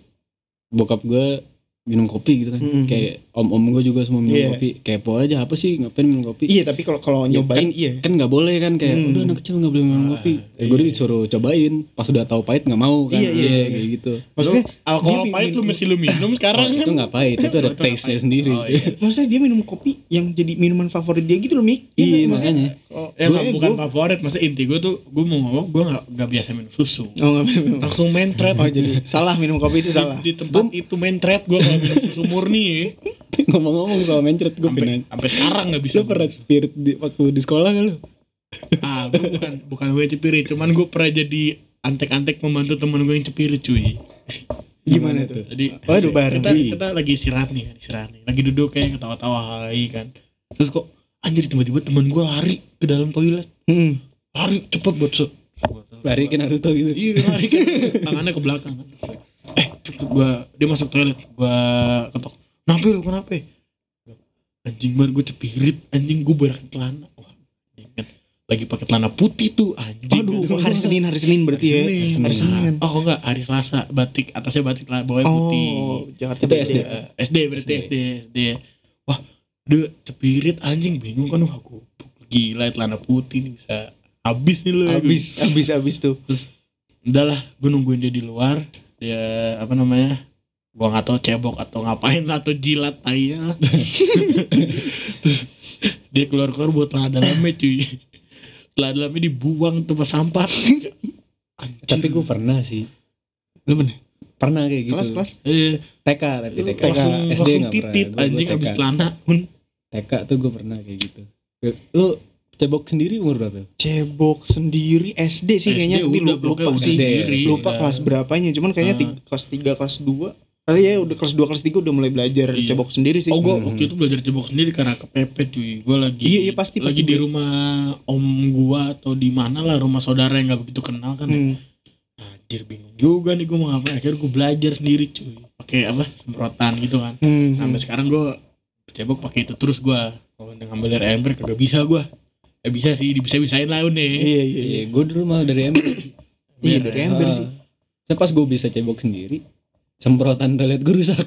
S1: bokap gue minum kopi gitu kan
S2: Mm.
S1: kayak om-om gue juga semua minum
S2: Iya.
S1: kopi kepo aja apa sih ngapain minum kopi
S2: Iya, tapi kalau kalau
S1: Ya,
S2: nyobain iya.
S1: kan nggak boleh kan kayak
S2: Hmm.
S1: udah anak kecil nggak boleh minum
S3: Ah,
S1: kopi eh,
S3: iya.
S1: gue disuruh cobain pas udah tahu pahit nggak mau kan
S2: Iya, iya, iya.
S1: kayak gitu
S2: Maksudnya
S3: kalau
S2: alkohol
S3: pahit lu mesti lu minum sekarang
S1: Oh,
S3: kan
S1: itu nggak pahit itu ada
S3: Itu nggak
S1: taste nya
S3: pahit.
S1: sendiri
S3: Oh, iya.
S2: [LAUGHS] maksudnya dia minum kopi yang jadi minuman favorit dia gitu loh Mi Iya,
S1: iya
S2: maksudnya-
S1: makanya [LAUGHS]
S2: oh,
S3: ya nggak,
S2: gue-
S3: bukan
S2: gue-
S3: favorit maksudnya inti gue tuh gue mau ngomong gue nggak nggak biasa minum susu
S2: oh nggak minum
S3: langsung mentret
S2: oh jadi salah minum kopi itu
S3: Di-
S2: salah
S3: di tempat itu mentret gue kalau minum susu murni ya.
S1: ngomong-ngomong soal mencret gue
S3: sampai
S1: pengen
S3: sampai sekarang nggak bisa
S1: lu pernah spirit di, waktu di sekolah kan lu
S3: ah gue bukan bukan gue cepiri cuman gue pernah jadi antek-antek membantu temen gue yang cepiri cuy
S2: gimana tuh
S3: Jadi
S2: Waduh, bareng.
S3: kita, kita lagi istirahat nih kan, istirahat nih. Lagi duduk kayak ketawa-tawa lagi kan. Terus kok anjir tiba-tiba teman gue lari ke dalam toilet.
S2: hmm.
S3: Lari cepet buat set.
S1: lari ke Naruto gitu
S3: Iya, lari kan. Tangannya ke belakang kan. Eh, cepet gua dia masuk toilet, gua ketok. Kenapa lu kenapa? Anjing banget gue cepirit, anjing gue berak celana. Wah, anjing kan. Lagi pakai celana putih tuh anjing.
S2: aduh hari Senin hari Senin berarti ya
S3: Hari Senin.
S2: hari Senin
S3: Oh enggak, hari Selasa batik atasnya batik lah, bawahnya putih.
S2: oh Jakarta
S1: Itu
S2: beda.
S1: SD.
S3: Eh, SD berarti
S1: SD.
S3: SD SD wah udah cepirit anjing bingung kan wah gue gila celana putih nih bisa habis nih lu
S2: abis abis abis tuh
S3: udah lah gue nungguin dia di luar dia apa namanya gua nggak tahu cebok atau ngapain lah, atau jilat tainya Terus [LAUGHS] dia keluar keluar buat telah dalamnya cuy telah dalamnya dibuang tempat sampah
S2: [LAUGHS]
S3: Anjing.
S1: tapi gue pernah sih
S2: lu mana
S1: pernah kayak gitu
S2: kelas kelas
S3: eh,
S1: TK tapi TK
S3: langsung
S1: SD
S3: langsung
S1: nggak pernah
S3: titit
S1: Gua- kan. gua
S3: anjing
S1: TK.
S3: abis celana pun
S1: TK tuh gue pernah kayak gitu lu cebok sendiri umur berapa
S2: cebok sendiri SD sih kayaknya
S3: SD
S2: tapi
S3: udah,
S2: lu- lupa,
S3: bloknya
S2: sih
S1: SD.
S2: lupa kelas berapanya cuman kayaknya
S3: Ah.
S2: tiga, kelas 3 kelas 2 Kali ya udah kelas 2 kelas 3 udah mulai belajar
S3: Iya.
S2: cebok sendiri sih
S3: Oh gue
S1: Mhm.
S3: waktu itu belajar cebok sendiri karena kepepet cuy Gue lagi
S2: Iya, iya, pasti,
S3: Lagi
S2: pasti.
S3: di rumah om gua atau di mana lah rumah saudara yang gak begitu kenal kan ya.
S2: Hmm.
S3: Anjir bingung juga nih gue mau ngapain Akhirnya gue belajar sendiri cuy pakai apa semprotan gitu kan
S2: Hmm.
S3: Sampai sekarang gue cebok pakai itu terus gua Kalau ngambil dari ember kagak bisa gua Eh bisa sih bisa-bisain lah nih
S2: iya iya iya
S1: iya gue di rumah dari
S3: [COUGHS]
S1: ember
S2: iya dari ember
S1: Ah.
S2: sih
S1: Saya pas gue bisa cebok sendiri, semprotan toilet gue rusak. [LAUGHS]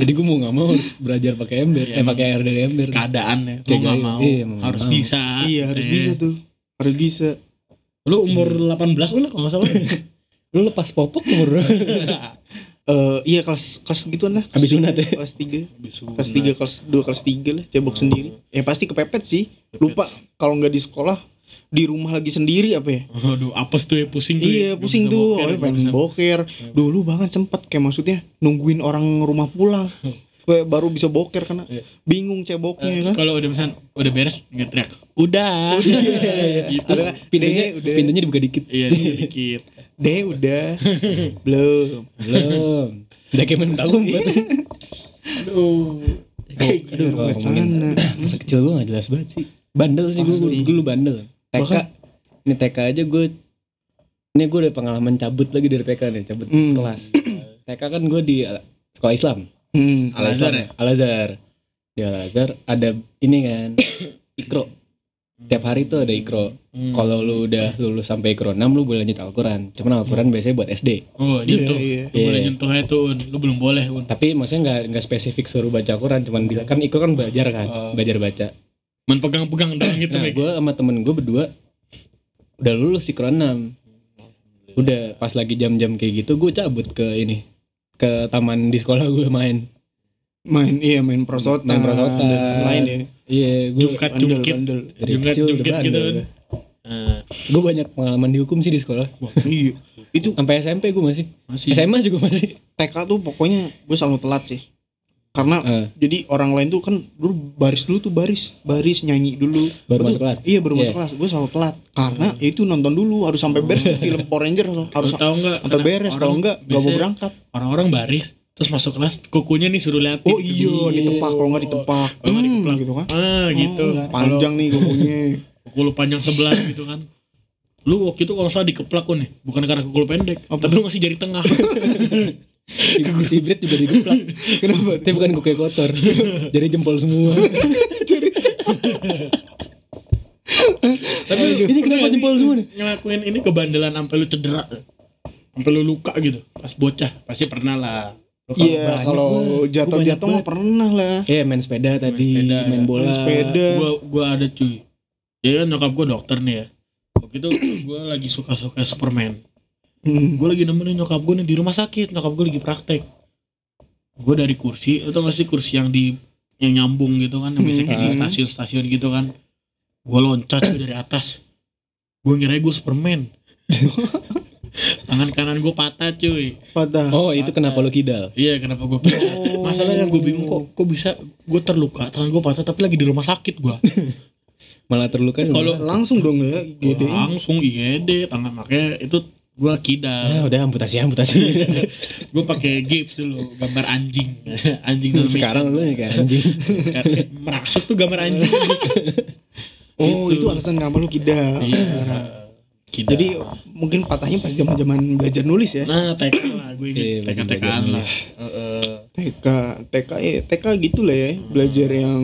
S1: Jadi gue mau nggak mau harus belajar pakai ember,
S3: Iya.
S1: eh pakai air dari ember.
S3: Keadaannya
S1: Kayak
S3: mau gak
S1: gaya-
S3: mau
S1: iya, mau nggak
S3: harus
S1: mau.
S3: bisa
S2: Iya harus
S3: gitu ya.
S2: bisa tuh harus bisa.
S3: Lu umur 18 udah kalau nggak [LAUGHS] salah
S1: Lu lepas popok umur berapa?
S2: Eh iya kelas kelas gituan lah.
S1: Habis sunat ya?
S2: Kelas tiga,
S3: Habis
S2: kelas tiga, kelas dua, kelas tiga lah cebok
S3: Hmm.
S2: sendiri. Ya pasti kepepet sih. Lupa kalau nggak di sekolah di rumah lagi sendiri apa ya?
S3: Waduh, apes tuh ya pusing tuh.
S2: Iya pusing
S1: [LAUGHS]
S2: tuh, oh, pengen boker. Dulu bahkan sempat kayak maksudnya nungguin orang rumah pulang. Gue baru bisa boker karena
S3: Iya.
S2: bingung ceboknya
S3: Eh,
S2: ya
S3: terus
S2: kan.
S3: kalau udah pesan udah beres nggak teriak
S2: [LAUGHS]
S3: udah gitu
S1: Terus
S2: Ada-
S1: pintunya,
S2: deh, udah.
S1: pintunya dibuka dikit.
S3: iya
S2: [LAUGHS]
S3: sedikit
S2: Deh
S1: [LAUGHS]
S2: udah belum.
S1: Belum. Udah kayak main
S2: [LAUGHS]
S1: tahu
S3: Iya. aduh
S1: Aduh,
S2: Aduh,
S1: gua ngomongin
S2: mana?
S1: [LAUGHS] masa kecil gue gak jelas banget sih. Bandel sih gue
S2: Pasti.
S1: dulu bandel. TK
S2: Bahkan-
S1: ini TK aja gue ini gue udah pengalaman cabut lagi dari TK nih, cabut
S2: Hmm.
S1: kelas. TK kan gue di uh, sekolah Islam.
S2: Hmm.
S3: Al-Azhar ya?
S1: Al-Azhar. Di Al-Azhar ada ini kan Ikro. Tiap hari tuh ada Ikro.
S3: Hmm.
S1: Kalau lu udah lulus sampai Ikro 6 lu boleh lanjut Al-Quran. Cuman Al-Quran biasanya buat SD.
S3: oh nyentuh
S2: Iya,
S3: lu boleh
S1: Iya.
S3: nyentuh aja tuh Un. lu belum boleh un
S1: Tapi maksudnya nggak nggak spesifik suruh baca Quran, cuman bilang kan Ikro kan belajar kan,
S3: Oh.
S1: belajar baca.
S3: men pegang-pegang doang gitu
S1: Nah,
S3: Meg.
S1: gue sama temen gue berdua udah lulus Ikro 6. Udah pas lagi jam-jam kayak gitu gue cabut ke ini ke taman di sekolah gue main.
S2: Main iya main prosotan.
S1: Main prosotan.
S2: dan lain-lain ya.
S1: Iya, gue
S3: jungkat jungkit
S2: Bandel,
S1: dari
S3: jungkat
S1: kecil udah
S3: jungkit gitu
S1: bandel ya.
S3: Un.
S1: udah.
S3: Eh,
S1: Gue banyak pengalaman dihukum sih di sekolah.
S2: bandel. Iya. Itu
S1: Sampai SMP gue masih.
S3: masih
S1: SMA juga masih.
S2: TK tuh pokoknya gue selalu telat sih. Karena
S1: Eh,
S2: jadi orang lain tuh kan dulu baris dulu tuh baris, baris nyanyi dulu.
S1: baru
S2: Gua
S1: masuk
S2: tuh-
S1: kelas.
S2: Iya baru masuk
S1: Iya.
S2: kelas, gue selalu telat karena ya itu nonton dulu harus sampai beres tuh film Power Ranger harus
S3: harus tahu nggak
S2: sampai
S3: karena
S2: beres kalau enggak nggak mau
S3: biasanya
S2: berangkat.
S3: orang-orang baris terus masuk kelas kukunya nih suruh liatin
S2: Oh iya ditepak kalau nggak ditepak,
S3: Kalau nggak
S2: Hmm,
S3: dikeplak.
S2: gitu kan?
S3: ah gitu
S2: Hmm, panjang nih kukunya.
S3: kukul lu panjang sebelah [COUGHS] gitu kan lu waktu itu kalau nggak salah dikeplak Un, nih bukan karena kukul pendek
S2: Apa?
S3: tapi lu ngasih jari
S1: [LAUGHS]
S3: tengah [LAUGHS]
S1: Si- Si Ibrit juga digeplak.
S2: Kenapa?
S1: Tapi bukan kuku kotor. Jadi jempol semua.
S3: tapi lu-
S1: Ini kenapa
S3: lu
S1: jempol semua nih?
S3: ngelakuin ini kebandelan sampai lu cedera sampai lu luka gitu pas bocah pasti pernah lah Lu kalau
S2: Iya
S1: banyak
S2: kalau
S1: gua. Gua
S2: jatuh-jatuh
S1: banyak
S2: mah pernah lah.
S1: Iya main sepeda tadi,
S3: sepeda, ya.
S1: main
S3: main
S1: bola.
S2: Main sepeda.
S3: gua gua ada cuy ya kan nyokap gua dokter nih ya waktu itu gua lagi suka-suka Superman
S2: Hmm.
S3: gua lagi nemenin nyokap gua nih di rumah sakit nyokap gua lagi praktek gua dari kursi atau nggak sih kursi yang di yang nyambung gitu kan yang biasanya kayak di
S2: Hmm.
S3: stasiun-stasiun gitu kan gua loncat cuy dari atas gua ngira gua Superman tangan kanan gua patah cuy
S2: Patah.
S1: Oh itu kenapa lu kidal?
S3: iya kenapa gua patah
S2: Oh.
S3: masalahnya gua bingung kok kok bisa gua terluka tangan gua patah tapi lagi di rumah sakit gua
S1: Malah terluka. lu.
S3: Kalau-
S2: langsung dong ya
S3: Gede.
S2: gede.
S3: langsung IGD tangan makanya itu gua
S1: Ah,
S3: kidal
S1: udah amputasi amputasi.
S3: [LAUGHS] gua pakai gips dulu gambar anjing [LAUGHS] anjing
S2: Hmm,
S3: dalam
S1: Sekarang lu ya
S3: mesin.
S1: kayak
S2: [LAUGHS]
S1: anjing.
S3: Sekarang [LAUGHS] merasuk tuh gambar [LAUGHS] anjing
S2: Oh
S3: Gitu.
S2: itu alasan kenapa lu kidal.
S3: iya kidal.
S2: Jadi mungkin patahnya pas zaman-zaman belajar nulis ya.
S3: nah TK lah gue
S1: Iya,
S3: inget TK TK
S1: bagian-bagian
S3: K-an lah
S1: nulis.
S3: Heeh.
S2: TK, TK ya, TK gitu lah ya, belajar yang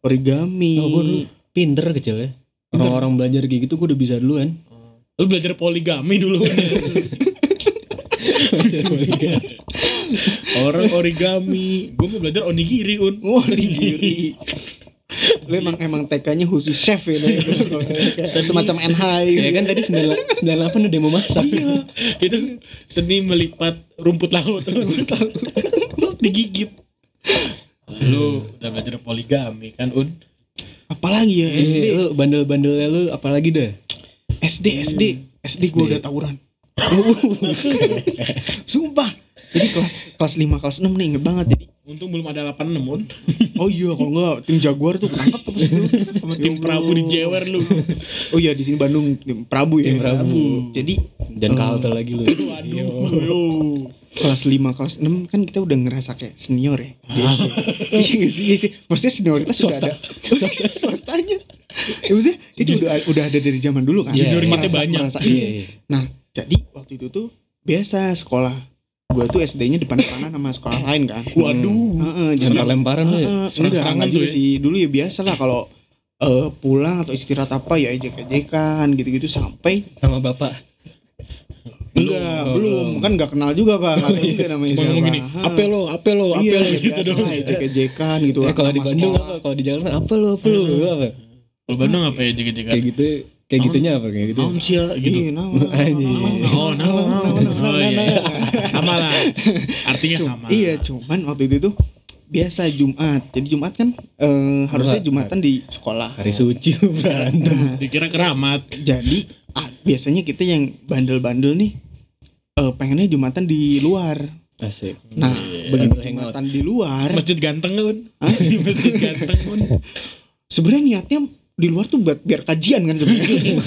S2: origami.
S1: Oh, gua dulu pinter kecil ya.
S2: Hmm.
S1: Orang-orang belajar kayak gitu gue udah bisa duluan.
S3: lu belajar poligami dulu [LAUGHS] orang origami gue mau belajar onigiri un
S2: Wah, origami. Lu emang emang TK-nya khusus chef ya, Le. Kayak semacam NH gitu.
S1: Ya kan tadi
S2: [LAUGHS]
S1: 98 udah demo masak. Iya.
S3: itu seni melipat rumput laut rumput laut digigit lu udah belajar poligami kan un
S2: Apalagi ya SD,
S1: Iya,
S3: Iya.
S1: Lu bandel-bandelnya lu apalagi dah.
S2: SD, SD, SD gua
S1: SD.
S2: udah tawuran. [LAUGHS] Sumpah. Jadi kelas kelas 5 kelas 6 nih inget banget jadi.
S3: untung belum ada 86 un
S2: Oh iya kalau enggak tim Jaguar tuh ketangkep tuh pas itu.
S3: sama
S2: Ya
S3: tim
S2: Allah.
S3: Prabu di Jewer [LAUGHS] lu
S2: Oh iya di sini Bandung tim Prabu ya.
S1: Tim Prabu.
S2: Jadi
S1: Jangan
S2: Eh.
S1: kaltel lagi lu.
S3: waduh
S1: Iya.
S3: yo.
S2: kelas 5 kelas 6 kan kita udah ngerasa kayak senior ya di SD.
S3: Ah.
S2: [LAUGHS] iya gak sih iya sih maksudnya senioritas sudah
S1: Swasta.
S2: ada [LAUGHS] Iya, swastanya ya maksudnya itu udah udah ada dari zaman dulu kan
S1: Junior kita
S2: Merasa-
S3: banyak.
S2: merasa-
S1: Iya.
S2: iya.
S1: iya.
S2: nah jadi waktu itu tuh biasa sekolah gua tuh SD-nya depan-depanan sama
S3: Eh.
S2: sekolah lain kan
S3: waduh
S2: Heeh, jadi-
S1: Lempar-lemparan lu. ya.
S2: Heeh, enggak,
S3: kan, serang-serangan
S2: enggak
S3: tuh
S2: juga
S3: ya?
S2: sih dulu ya biasa lah kalau eh, pulang atau istirahat apa ya ejek-ejekan gitu-gitu sampai
S1: Sama bapak.
S3: Belum, Iya.
S2: enggak
S1: belum.
S2: belum kan enggak kenal juga pak Nggak tahu juga namanya
S3: cuma
S2: siapa.
S3: ngomong gini
S2: Heeh.
S3: apa ya, lo apa lo apa
S2: Hmm. iya,
S3: lo gitu
S2: gitu
S3: dong
S2: lah ejek-ejekan gitu
S1: Eh, kalau di
S2: Sama
S1: Bandung
S2: sekolah. Hmm.
S1: apa? Kalau di Jakarta apa lu? Apa lu? Lu apa?
S3: kalau Bandung apa ya jadi
S1: Kayak gitu. Kayak
S3: Naon?
S1: gitunya apa kayak gitu?
S3: Naon sih ya gitu
S2: Iya, naon,
S3: [LAUGHS]
S2: naon,
S1: Anjing.
S2: naon, naon,
S3: Oh, naon,
S2: naon,
S3: naon,
S2: naon,
S3: naon,
S2: naon,
S3: iya.
S2: naon.
S3: sama lah artinya
S2: Cum-
S3: sama
S2: Oh, Iya, cuman waktu itu tuh biasa Jumat. Jadi Jumat kan eh, harusnya Jumatan di sekolah.
S1: Hari suci lu berantem.
S2: Nah,
S3: dikira keramat
S2: jadi ah, biasanya kita yang bandel-bandel nih eh, pengennya Jumatan di luar.
S1: Asik.
S2: Nah,
S3: Iya.
S2: begitu
S1: Sambil hangout.
S2: jumatan di luar,
S3: masjid ganteng kan
S2: Hah?
S3: [LAUGHS] di masjid ganteng kan
S2: sebenarnya niatnya di luar tuh buat biar kajian kan
S3: [LAUGHS]
S2: sebenarnya.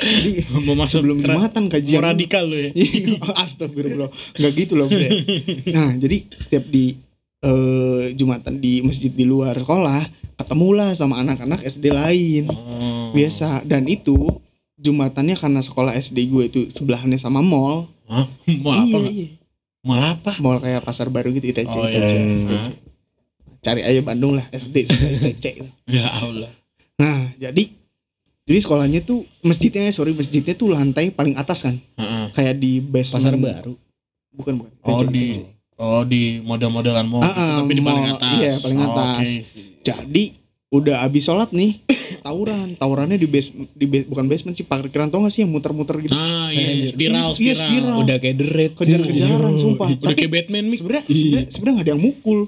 S2: Jadi
S3: mau masuk
S2: sebelum
S3: ra-
S2: jumatan kajian.
S3: mau radikal lu ya [LAUGHS]
S2: Iya, Astagfirullah, nggak gitu loh bre. Nah jadi setiap di eh, jumatan di masjid di luar sekolah ketemulah sama anak-anak SD lain
S3: Oh.
S2: Oh. biasa dan itu jumatannya karena sekolah SD gue itu sebelahnya sama mall.
S3: Hah? mau apa
S2: iya,
S3: nggak?
S2: iya.
S3: mau apa
S2: Mall kayak pasar baru gitu ITC.
S3: Oh, iya.
S2: ITC.
S3: Hah?
S1: Hmm.
S2: Cari aja Bandung lah SD sama ITC.
S3: ya Allah
S2: Nah jadi jadi sekolahnya tuh masjidnya sorry masjidnya tuh lantai paling atas kan
S3: Heeh.
S2: kayak di basement
S1: Pasar baru.
S2: bukan bukan
S3: oh
S2: ITC.
S3: di oh di model-modelan mau
S2: Ah,
S3: gitu,
S2: ah,
S3: tapi di paling
S2: mall.
S3: atas
S2: Iya, paling
S3: Oh,
S2: atas.
S3: oke.
S2: Jadi udah abis sholat
S1: [COUGHS]
S2: nih, tawuran, tawurannya di base, di base- bukan basement sih parkiran tau gak sih yang muter-muter gitu.
S3: Nah, iya,
S1: Anjir.
S3: spiral,
S2: Iya,
S3: spiral.
S2: spiral.
S1: Udah kayak The Raid.
S2: Kejar-kejaran, sumpah.
S3: Udah
S2: Tapi
S3: kayak Batman, Mik.
S2: sebenarnya
S1: Iya.
S2: sebenarnya sebenarnya nggak ada yang mukul,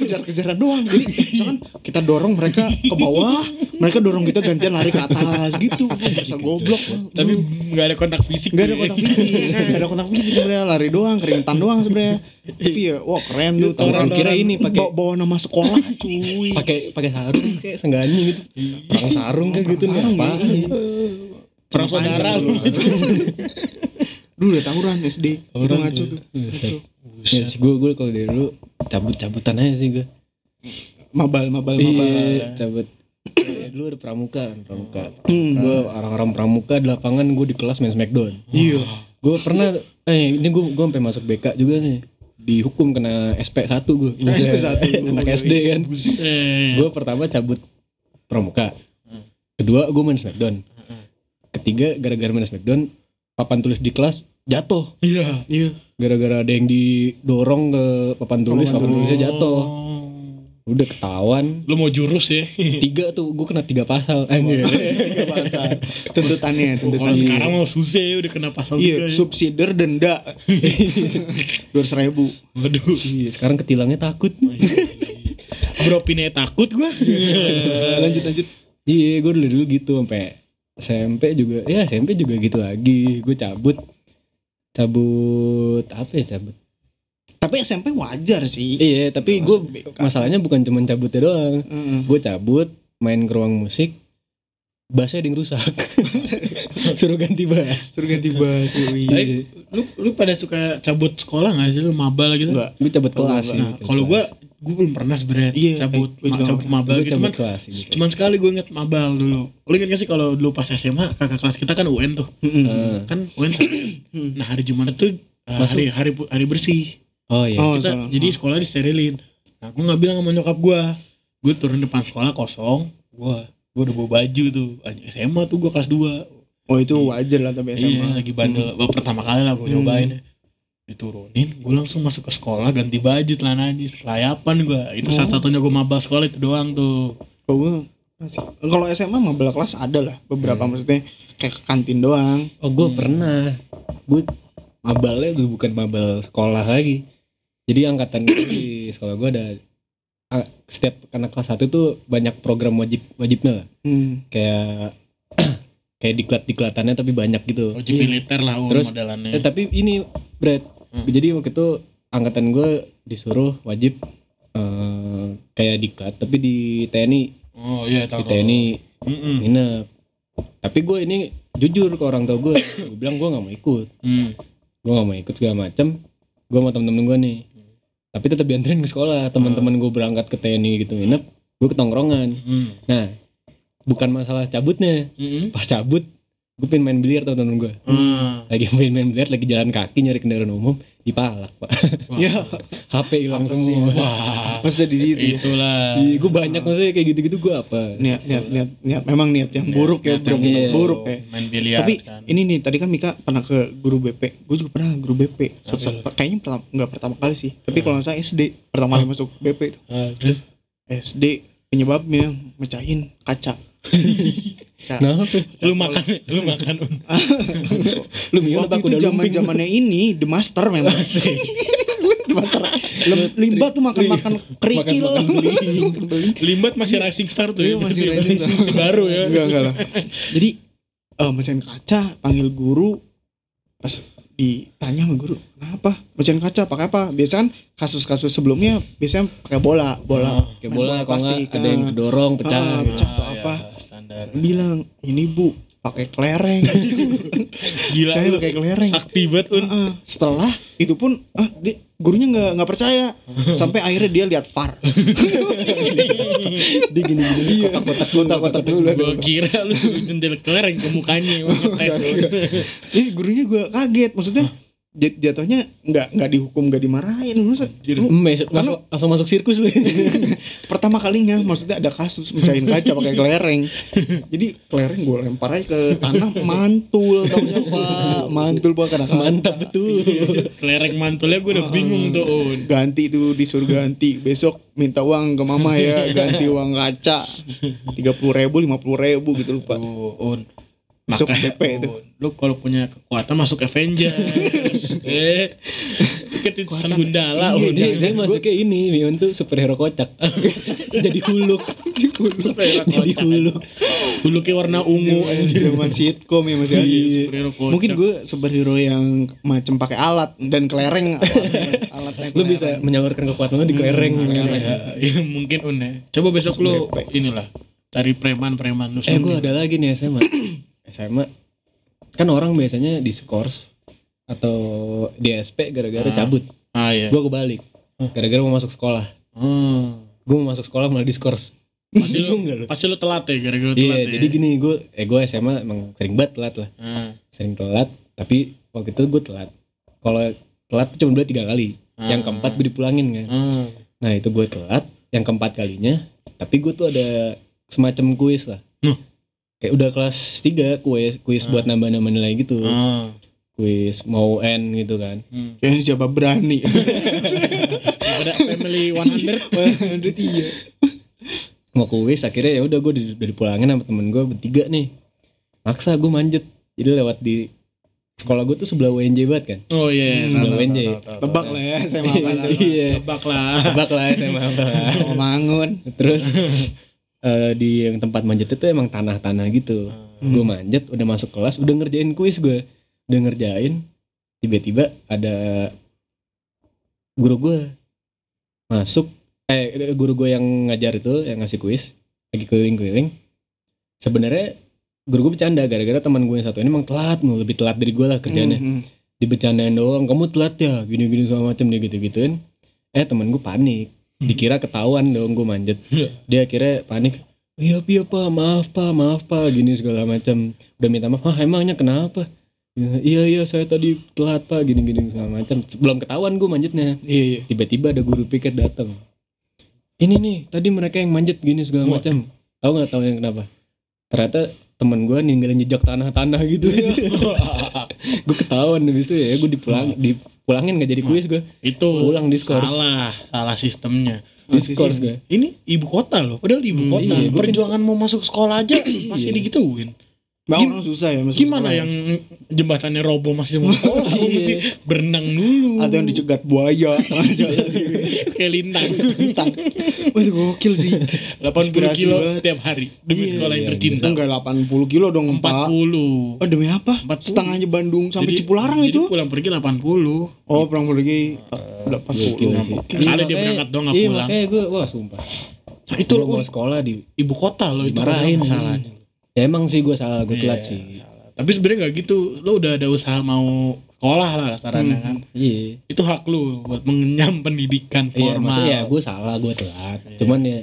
S2: kejar-kejaran doang.
S1: [COUGHS]
S2: Jadi misalkan kita dorong mereka ke bawah, mereka dorong kita gantian lari ke atas
S1: [COUGHS]
S2: gitu. Bisa goblok.
S3: Tapi nggak ada kontak fisik.
S2: nggak ada
S3: ya.
S2: kontak
S1: [COUGHS]
S2: fisik, nggak ada kontak fisik sebenarnya lari doang, keringetan doang sebenarnya. Tapi ya, wah keren tuh.
S1: Orang kira ini pakai-
S2: bawa, bawa nama sekolah, cuy.
S1: Pakai pakai sarung kayak sengganya gitu. Perang sarung kayak gitu nih
S2: Iya. Sarung,
S1: apa?
S2: iya.
S3: Perang saudara lu.
S2: Dulu udah tawuran SD, itu
S1: Tawuran
S2: ngaco
S1: tuh.
S2: tuh.
S1: Iya,
S2: Ngaco.
S1: Ya sih gue gue kalau dari dulu cabut-cabutan aja sih gue.
S2: Mabal, mabal, mabal.
S1: Iya, cabut. Ya, dulu ada pramuka, kan, pramuka.
S2: Hmm.
S1: Gue
S3: Iya.
S1: orang-orang pramuka di lapangan gue di kelas main Smackdown.
S2: Iya.
S1: Gue pernah eh ini gue gue sampai masuk BK juga nih. Dihukum kena SP 1 gue.
S2: Oh, SP1.
S1: [LAUGHS] Anak SD kan.
S3: Buset.
S1: Gue pertama cabut pramuka.
S3: Hmm.
S1: Kedua gue main Smackdown.
S3: Heeh.
S1: Ketiga gara-gara main Smackdown papan tulis di kelas jatuh.
S3: Iya.
S2: Iya.
S1: Gara-gara ada yang didorong ke papan tulis,
S2: Papan
S1: papan tulisnya jatuh.
S3: Oh.
S1: Udah ketahuan.
S3: Lu mau jurus ya?
S1: Tiga tuh gue kena tiga pasal. Anjir.
S2: Tiga bahasa.
S3: Iya. Oh,
S2: Tuntutannya,
S3: kalau
S2: tuntutannya.
S3: sekarang mau susah ya udah kena pasal tiga
S2: Iya,
S3: ya.
S2: subsider
S3: [LAUGHS]
S2: denda. 200 ribu.
S3: Waduh.
S1: Iya, sekarang ketilangnya takut.
S3: Bro Pine takut gua. Eh.
S2: Lanjut, lanjut.
S1: Iya, gue dulu dulu gitu sampai SMP juga. Ya SMP juga gitu lagi. Gue cabut, cabut apa ya cabut?
S2: Tapi SMP wajar sih.
S3: Eh,
S1: Iya, tapi gue
S2: kan.
S1: masalahnya bukan cuman cabutnya doang. Gue cabut, main ke ruang musik, bassnya ada yang
S3: [LAUGHS]
S1: rusak. Suruh ganti bass.
S2: Suruh ganti iya. bahasa.
S3: Tapi- Lu lu pada suka cabut sekolah gak sih lu mabal gitu?
S2: Enggak.
S1: Gue cabut
S2: Kalau
S1: kelas
S2: gua-
S1: sih.
S3: Nah, kalau gua gua belum pernah sebenernya
S2: Iya,
S3: cabut,
S2: eh, gua juga
S3: cabut
S2: pernah.
S3: mabal
S1: gue
S3: gitu.
S1: cabut
S3: Cuman
S1: kelas sih. gitu.
S3: Cuman sekali gue inget mabal dulu. Lo inget gak sih kalau dulu pas SMA kakak kelas kita kan UN tuh,
S1: Heeh.
S3: kan UN. satu.
S2: Hmm.
S3: nah hari Jumat tuh uh,
S1: Masuk.
S3: hari hari hari bersih.
S1: Oh iya.
S2: Oh,
S3: kita
S2: salah.
S3: jadi sekolah disterilin. Nah gue nggak bilang sama nyokap gue. Gue turun depan sekolah kosong. Gue gue udah bawa baju tuh. Anjing, SMA tuh gue kelas 2
S2: Oh itu wajar lah tapi
S3: SMA
S2: SMA.
S3: lagi bandel. Wah, pertama kali lah gue
S2: Hmm.
S3: nyobain. Diturunin, gue langsung masuk ke sekolah ganti baju celananya, kelayapan gue. Itu
S2: Oh.
S3: satu-satunya gue mabal sekolah itu doang tuh.
S2: Kalau gua- Kalau SMA mah belah kelas ada lah beberapa
S3: Eh.
S1: Hmm.
S2: maksudnya kayak ke kantin doang.
S1: Oh gue
S3: Hmm.
S1: pernah Gue mabalnya udah bukan mabal sekolah lagi Jadi angkatan gue di sekolah gue ada a- Setiap anak kelas 1 tuh banyak program wajib wajibnya lah
S2: Hmm.
S1: Kayak [CLEARS THROAT] kayak diklat-diklatannya tapi banyak gitu
S3: Wajib
S2: Iya.
S3: militer lah umur
S1: Terus,
S3: modelannya.
S1: eh, Tapi ini Brad
S3: Hmm.
S1: Jadi waktu itu angkatan gue disuruh wajib eh, Kayak diklat tapi di TNI
S3: Oh iya tahu.
S1: Di TNI
S3: Mm-mm.
S1: nginep Tapi gue ini jujur ke orang tua gue Gue bilang gue gak mau ikut
S3: Hmm.
S1: gue gak mau ikut segala macem gue sama temen-temen gue nih
S3: Hmm.
S1: tapi tetap dianterin ke sekolah teman-teman gue berangkat ke TNI gitu nginep gue ke tongkrongan
S3: Mm.
S1: nah bukan masalah cabutnya
S3: Mm-mm.
S1: pas cabut gue pengen main biliar tau temen gue
S2: Hmm.
S3: Ah.
S1: lagi pengen main biliar lagi jalan kaki nyari kendaraan umum dipalak pak
S3: Wah.
S2: Ya.
S1: HP hilang
S2: Apa sih?
S1: semua
S3: Wah.
S2: Masa di situ ya.
S3: Itulah.
S1: Iya, gue banyak maksudnya kayak gitu-gitu gue apa
S2: niat niat niat niat memang niat yang
S3: Niat-
S2: buruk ya
S3: niat
S2: bro
S3: yang
S1: Iya.
S2: buruk ya
S3: Main biliar
S2: Tapi
S3: kan.
S2: ini nih tadi kan Mika pernah ke guru BP gue juga pernah ke guru BP
S3: Tapi
S2: Satu-
S3: lu-
S2: satu- kayaknya pertama nggak pertama kali sih tapi kalau nggak salah SD pertama kali masuk BP itu
S3: Ah, terus
S2: SD penyebabnya mecahin kaca
S1: nah apa
S3: lu makan lu makan
S2: um.
S3: [LAUGHS]
S1: lu mio
S2: waktu
S1: apa
S2: itu
S1: kuda
S2: zaman
S1: lumping
S2: zamannya ini the master memang [LAUGHS] the master Lem- limbah tuh makan makan kerikil
S1: Makan-makan beling.
S2: Makan beling.
S3: limbat masih rising star tuh ya.
S2: Iya, masih rising star.
S3: masih baru ya.
S2: enggak enggak lah jadi eh mecahin kaca panggil guru pas ditanya sama guru kenapa mecahin kaca pakai apa biasanya kan kasus-kasus sebelumnya biasanya pakai bola bola
S1: kayak
S2: Main
S1: bola
S2: bola
S1: kalau nggak
S2: plastik,
S1: ada yang
S2: ah.
S1: kedorong pecah
S2: Ah,
S1: gitu.
S2: pecah atau
S3: Ah, ya,
S2: apa.
S3: standar.
S2: bilang ini bu pakai kelereng
S3: gila
S2: saya
S3: lu
S2: pakai kelereng
S3: sakti banget un
S2: Heeh. setelah itu pun ah, dia- gurunya nggak nggak percaya sampai akhirnya dia lihat far
S1: dia gini gini
S2: iya. kotak-kotak kotak-kotak dulu
S3: gua kira lu suruh jendel kelereng ke mukanya lu ngetes lu.
S2: [LAUGHS] Jadi gurunya gue kaget maksudnya jat- jatuhnya nggak nggak dihukum nggak dimarahin Maksudnya,
S3: Anjir.
S2: lu
S1: masuk, langsung, langsung masuk sirkus lu
S2: Iya. pertama kalinya maksudnya ada kasus mecahin kaca pakai
S3: [LAUGHS]
S2: kelereng jadi kelereng gue lempar aja ke tanah mantul taunya pak mantul pak karena kan
S1: mantap betul
S2: Iya,
S3: kelereng mantulnya gua udah
S2: Ah.
S3: bingung tuh un
S2: ganti tuh disuruh ganti besok minta uang ke mama ya ganti uang kaca tiga puluh ribu lima puluh ribu gitu lupa
S3: Tuh, un
S2: Masuk
S3: Makanya,
S2: DP itu.
S3: Un, lu kalau punya kekuatan masuk Avengers
S1: [LAUGHS]
S3: eh ketitisan gundala
S1: Iya,
S3: un
S1: dia, dia masuknya ini Mion tuh superhero kocak [LAUGHS] jadi huluk
S3: Superhero
S1: jadi
S3: kocak.
S1: huluk
S3: Buluknya warna ungu anjir.
S2: zaman sitkom ya masih ada
S3: Iya, superhero kocak.
S2: Mungkin gue superhero yang macem pakai alat dan kelereng alatnya, alatnya
S1: lu bisa menyalurkan kekuatan lu di kelereng
S2: Hmm,
S1: misalnya.
S3: Ya, ya, mungkin un ya. Coba besok lu
S2: Sampai.
S3: inilah cari preman-preman lu
S1: Eh gue
S3: sendiri.
S1: ada lagi nih [CLEARS THROAT] SMA SMA Kan orang biasanya diskors Atau DSP gara-gara
S3: Ah.
S1: cabut
S3: Ah ya.
S1: Gue kebalik Gara-gara mau masuk sekolah
S3: Hmm.
S1: Gue mau masuk sekolah malah diskors
S3: Pasti lu
S1: Bingung nggak lu?
S3: pasti lu telat ya gara-gara
S1: Iya
S3: telat ya.
S1: jadi gini gue Eh gue SMA emang sering banget telat lah
S3: Ah,
S1: Sering telat Tapi waktu itu gue telat Kalau telat tuh cuma dua tiga kali
S3: ah,
S1: Yang keempat gue dipulangin kan
S3: ah.
S1: Nah itu gue telat yang keempat kalinya Tapi gue tuh ada semacam kuis lah
S3: Nuh.
S1: Kayak udah kelas 3 kuis Kuis
S3: Ah.
S1: buat nambah-nambah nilai gitu
S3: Ah.
S1: kuis mau N gitu kan
S3: Hmm.
S2: Kayaknya siapa berani
S3: Daripada
S1: [LAUGHS]
S3: family 100
S2: Waduh iya
S1: mau kuis akhirnya ya udah gue udah dipulangin sama temen gue bertiga nih maksa gue manjet jadi lewat di sekolah gue tuh sebelah UNJ banget kan
S3: Oh iya, tahu,
S2: Hmm,
S1: sebelah
S3: tahu,
S1: NJ.
S3: tahu, tahu,
S2: Tebak
S3: tahu.
S2: lah ya saya makan tuh
S1: Iya.
S3: Tebak lah.
S1: tebak lah SMA apa lah.
S2: Mau mangun
S1: terus eh, di yang tempat manjet itu emang tanah-tanah gitu gue manjet udah masuk kelas udah ngerjain kuis gue udah ngerjain tiba-tiba ada guru gue masuk eh guru gue yang ngajar itu yang ngasih kuis lagi keliling-keliling sebenarnya guru gue bercanda gara-gara teman gue yang satu ini emang telat mau lebih telat dari gue lah kerjanya
S2: Mm, mm.
S1: dibecandain doang kamu telat ya gini-gini segala macam dia gitu-gituin eh temen gue panik dikira ketahuan dong gue manjet
S3: Iya.
S1: dia akhirnya panik iya iya pak maaf pak maaf pak gini segala macam udah minta maaf ah emangnya kenapa Ya, iya iya saya tadi telat pak gini-gini segala macam belum ketahuan gue manjetnya
S2: Iya iya
S1: tiba-tiba ada guru piket datang ini nih tadi mereka yang manjet gini segala
S3: Wah.
S1: macam tahu nggak tahu yang kenapa ternyata temen gue ninggalin jejak tanah-tanah gitu [LAUGHS] gue ketahuan habis itu ya gue dipulang dipulangin nggak jadi kuis gue
S3: [LAUGHS] Itu
S1: Ulang diskors.
S3: Salah, Iya, salah sistemnya.
S1: diskors gue
S3: Ini ibu kota loh, padahal di ibu
S1: Hmm,
S3: kota.
S1: iya, gua
S3: Perjuangan mau masuk sekolah
S2: [CLEARS THROAT]
S3: aja masih
S1: Iya.
S3: digituin.
S2: Bang
S3: Gim-
S2: orang susah ya masuk
S3: Gimana
S2: sekolah. Iya.
S3: yang jembatannya roboh masih mau
S2: [LAUGHS]
S3: sekolah? Lu mesti berenang dulu.
S2: Atau yang dicegat buaya tengah jalan
S3: [LAUGHS] kayak
S2: [LAUGHS]
S3: lintang.
S2: Bintang Wah itu gokil sih
S3: 80
S2: Inspirasi
S3: kilo
S2: banget.
S3: setiap hari demi
S2: Iya,
S3: sekolah yang
S1: iya,
S3: tercinta.
S2: Enggak 80 kilo dong pak
S3: 40.
S2: Oh demi apa?
S3: 40.
S2: Setengahnya Bandung sampai
S3: Jadi-
S2: Cipularang
S3: jadi
S2: itu
S3: pulang pergi 80.
S2: Oh perang lagi Udah 40
S1: gokil sih.
S2: Gokil.
S3: Kali dia berangkat doang nggak
S1: iya,
S3: pulang.
S1: makanya gue wah sumpah
S3: Nah,
S1: itu
S3: itu
S1: lo
S3: lu
S1: mau sekolah di
S3: ibu kota loh itu
S1: Dimarahin.
S3: masalahnya.
S1: ya emang sih gue salah gue
S3: Iya,
S1: telat sih
S3: salah. Tapi sebenarnya nggak gitu. Lo udah ada usaha mau sekolah lah sarannya
S2: Hmm.
S3: kan.
S1: iya
S3: Itu hak lu buat mengenyam pendidikan
S1: iya
S3: formal.
S1: maksudnya ya gue salah gue telat
S3: Iya.
S1: cuman ya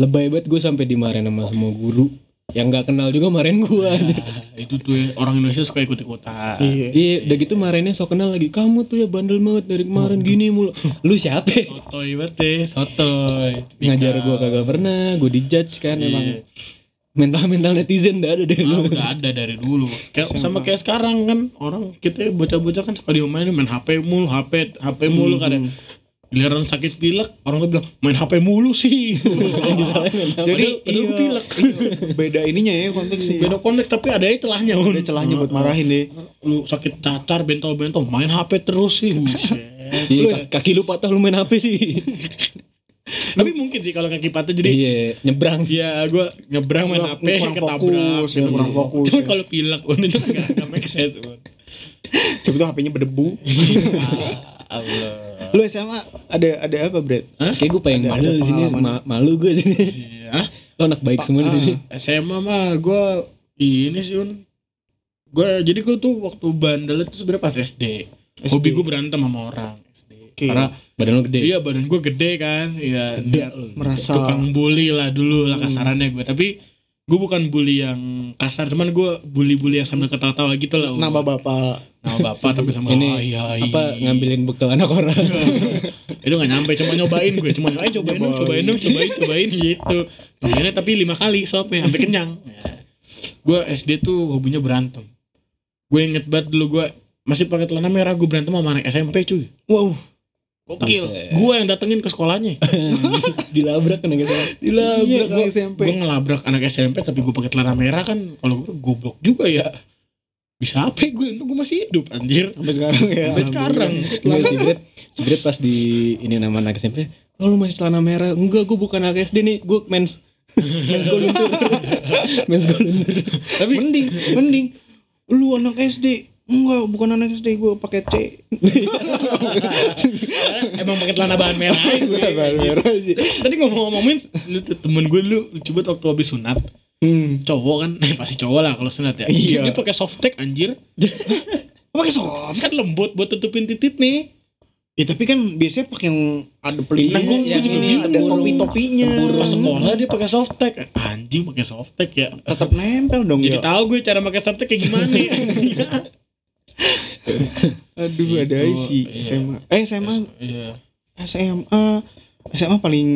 S1: lebay banget gue sampai dimarahin sama semua guru yang nggak kenal juga marahin gue
S3: Nah, itu tuh ya, orang Indonesia suka ikut-ikutan.
S2: Iya
S1: [LAUGHS] Iya, udah gitu marahinnya so kenal lagi. Kamu tuh ya bandel banget dari kemarin gini mulu. Lu siapa? ya?
S3: Sotoy banget deh, sotoy. Iya.
S1: Ngajar gua kagak pernah, gua dijudge kan emang
S3: Memang
S1: mental-mental netizen udah ada deh
S3: ah,
S1: lu.
S3: Iya. udah ada dari dulu. Kayak
S2: Sumpah.
S3: sama kayak sekarang kan orang kita bocah-bocah kan suka diomelin main HP mulu, HP HP mulu kadang
S2: Hmm.
S3: giliran sakit pilek orang tuh bilang main HP mulu sih.
S2: Jadi
S3: Padahal
S2: iya,
S3: gua pilek.
S2: iya, beda ininya ya konteksnya.
S3: Beda konek tapi ada aja celahnya. Un.
S2: Ada celahnya buat marahin deh.
S3: Lu sakit cacar bentol-bentol [LAUGHS] main HP terus sih. Buset. ya,
S1: Iya, kaki lu patah lu main HP sih.
S3: Tapi mungkin sih kalau kaki patah jadi
S1: iya nyebrang
S3: ya gua nyebrang main
S2: Kurang-
S3: HP
S2: kurang
S3: ketabrak.
S2: fokus, ya, kurang
S3: Iya.
S2: fokus,
S3: Cuma
S2: ya.
S3: kalau pilek pun [LAUGHS] itu enggak enggak make sense. Bun.
S2: Sebetulnya HP-nya berdebu.
S3: Ah, Allah.
S2: Lu SMA ada ada apa, Brad?
S1: kayak gue pengen
S2: Ada-
S1: malu
S2: ada
S1: di sini
S2: pengalaman.
S1: ma- malu gue sini
S3: Iya.
S1: lo anak baik
S2: Pa-
S1: semua di sini
S3: SMA mah gua ini sih Un. Gua jadi gua tuh waktu bandel itu sebenarnya pas SD. Hobi gua berantem sama orang SD.
S2: Oke.
S3: Karena
S1: badan lo gede
S3: iya badan gua gede kan, iya
S1: Gede
S3: dia
S1: lo.
S2: merasa
S3: tukang bully lah dulu lah
S2: Hmm.
S3: kasarannya gua. Tapi gua bukan bully yang kasar, cuman gua bully-bully yang sambil ketawa-tawa gitu lah. Un.
S2: nama bapak.
S3: Nama bapak tapi sama
S1: [LAUGHS] Ini,
S3: hai, hai.
S1: apa ngambilin bekal anak orang
S3: itu gak nyampe cuma nyobain gue cuma nyobain cobain dong cobain dong cobain cobain gitu cobainnya tapi lima kali sopnya sampai kenyang Ya. gue SD tuh hobinya berantem gue inget banget dulu gue masih pakai celana merah gue berantem sama anak SMP cuy
S2: Wow,
S3: gokil
S1: Buset.
S3: gue yang datengin ke sekolahnya
S1: [LAUGHS] dilabrak kan gitu
S2: dilabrak
S3: Iya, gua-
S2: anak SMP.
S3: gue ngelabrak anak SMP tapi gue pakai celana merah kan kalau gue goblok juga ya bisa apa ya gue untung gue masih hidup anjir
S2: Sampai sekarang ya.
S3: sampai sekarang
S1: Enggak, si Gret, si Gret pas di ini nama anak SMP, oh, lu masih celana merah? Enggak, gue bukan anak SD nih, gue mens mens gue luntur, mens gue luntur.
S3: tapi
S2: Mending, mending lu anak SD. Enggak, bukan anak SD, gua pakai C.
S3: [LAUGHS] emang pakai Iya, celana bahan merah aja gue.
S2: Merah sih.
S3: tadi ngomong-ngomongin lu tuh temen gue lu coba waktu habis sunat
S2: Hmm.
S3: cowok kan eh, pasti cowok lah kalau sunat ya
S2: Iya.
S3: dia pakai softtek anjir
S2: Pakai soft.
S3: kan lembut buat tutupin titit nih
S2: Ya tapi kan biasanya pakai yang ada pelindung
S1: Iya, yang ini
S2: ada
S1: burung.
S3: Iya.
S2: topi-topinya.
S1: Burung.
S3: pas sekolah dia pakai softtek anjing pakai softtek ya
S2: tetap nempel dong
S3: jadi
S2: ya.
S3: tahu gue cara pakai softtek kayak [LAUGHS] gimana ya.
S2: Aduh, ada
S3: Gitu,
S2: isi
S3: iya.
S2: SMA. Eh, SMA
S3: Iya.
S2: SMA SMA paling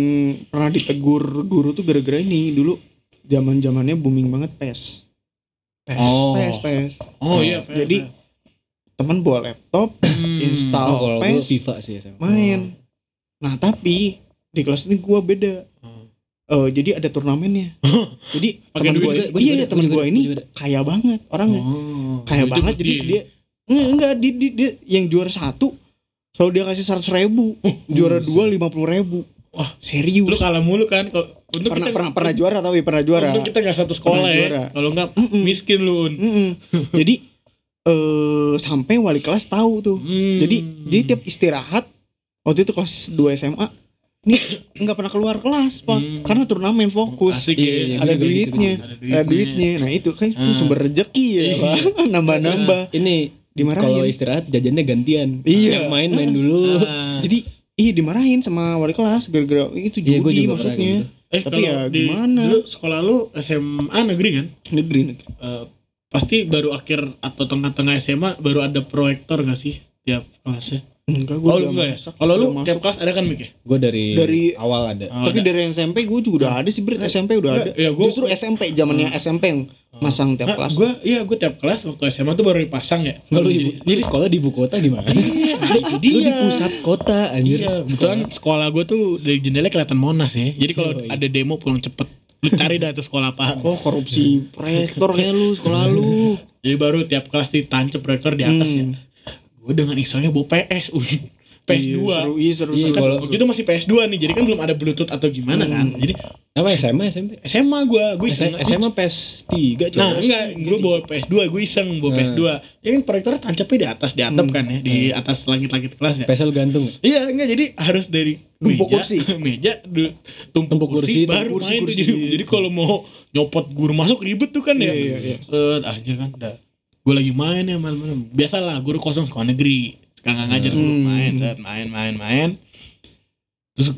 S2: pernah ditegur guru tuh gara-gara ini dulu zaman zamannya booming banget pes
S3: oh
S2: pes pes Nah,
S3: oh iya fair,
S2: Jadi,
S3: fair.
S2: teman bawa laptop
S3: [CLEARS THROAT] Hmm.
S2: install
S1: Oh, kalau gue
S2: pes
S1: FIFA sih SMA.
S2: main nah tapi di kelas ini gua beda
S3: Hmm.
S2: Eh, jadi ada turnamennya jadi
S3: Pakai
S2: teman
S3: duit
S2: gua
S3: juga,
S1: gua juga
S2: iya
S1: ada,
S2: iya,
S1: gua
S2: teman
S1: juga
S2: gua
S1: ada, gua
S2: ini
S1: juga
S2: kaya banget orangnya
S3: Oh.
S2: kaya
S3: Itu
S2: banget jadi
S3: gede.
S2: dia enggak enggak di, di- dia yang juara satu selalu dia kasih seratus ribu juara dua lima puluh ribu
S3: Wah.
S2: serius
S3: lu kalah mulu kan kalau untuk
S2: pernah
S3: kita
S2: pernah pernah juara tapi pernah juara
S3: untuk kita nggak satu sekolah
S2: Pernah juara. Hmm.
S3: ya kalau nggak
S2: Mm-mm.
S3: miskin lu Un. [LAUGHS]
S2: Mm-mm. Jadi eh sampai wali kelas tahu tuh.
S3: Hmm.
S2: Jadi dia tiap istirahat waktu itu kelas 2 SMA nih nggak pernah keluar kelas pak
S3: Hmm.
S2: karena turnamen fokus
S3: Asik ya.
S1: Iya, iya,
S2: ada
S1: gitu, gitu,
S2: duitnya
S1: gitu.
S2: ada duitnya nah itu kan itu
S3: Ah.
S2: sumber rejeki ya
S3: Iya.
S2: pak [LAUGHS] nambah nambah
S1: Ini kalau
S2: dimarahin
S1: istirahat jajannya gantian.
S2: Iya.
S1: Yang main main dulu.
S3: Ah.
S2: jadi iya dimarahin sama wali kelas gara-gara itu
S1: Iya, gua juga
S2: judi
S1: pernah
S2: maksudnya
S3: eh kalau
S2: tapi ya
S3: di,
S2: gimana?
S3: dulu sekolah lu SMA negeri kan?
S2: negeri negeri
S3: Eh, pasti baru akhir atau tengah-tengah SMA baru ada proyektor gak sih tiap kelasnya?
S2: enggak gue
S3: Oh lu enggak ya? Kalau lu tiap kelas ada kan mic ya?
S1: Gue dari,
S2: Dari- Ah.
S1: awal ada.
S3: Oh,
S2: tapi
S3: ada.
S2: dari SMP gue juga udah ada sih Brit SMP udah ada
S3: ya gua
S2: justru SMP zamannya SMP yang masang tiap
S3: Nah,
S2: kelas
S3: gua iya gua tiap kelas waktu SMA tuh baru dipasang ya.
S1: Kalau lu
S3: Jadi-
S1: ibu, lu di sekolah di ibu kota gimana?
S3: Iya, itu
S1: Lu di
S3: dia.
S1: pusat kota anjir.
S3: Iya, kebetulan sekolah gue tuh dari jendela kelihatan Monas ya. Jadi kalau
S2: Iya,
S1: Yoi.
S3: ada demo pulang cepet, lu cari dah tuh sekolah apaan.
S2: Oh korupsi proyektor kayak lu sekolah lu.
S3: Jadi baru tiap kelas ditancap proyektor di atas ya.
S2: Hmm.
S3: Gue dengan istilahnya bawa PS, Uy. PS2.
S2: Iya, Seru iya seru.
S1: Iya,
S2: seru.
S1: kalau-
S3: Waktu itu masih PS2 nih, jadi kan belum ada Bluetooth atau gimana kan.
S2: Hmm.
S3: Jadi
S1: Apa SMA SMP?
S3: SMA gue, gue iseng.
S1: SMA PES 3
S3: Nah
S2: iya.
S3: enggak, gue bawa PS2, gue iseng bawa
S1: Hmm.
S3: PS2. Ya kan proyektornya tancapnya di atas, di atap
S2: Hmm.
S3: kan ya, di atas langit-langit kelas ya.
S1: PES lu gantung.
S3: Iya enggak jadi harus dari
S2: Numpuk
S3: meja,
S2: kursi.
S3: [LAUGHS] meja du- tumpuk,
S1: Tumpuk kursi,
S3: kursi, baru
S2: tumpuk kursi,
S3: main tuh.
S2: kursi.
S3: jadi, jadi kalau mau nyopot guru masuk ribet tuh kan ya.
S2: Iya, iya, iya.
S3: Set, aja kan udah. Gue lagi main ya malam-malam. Biasalah guru kosong sekolah negeri. Kakak ngajar guru
S2: Hmm.
S3: main, set, main main main. Terus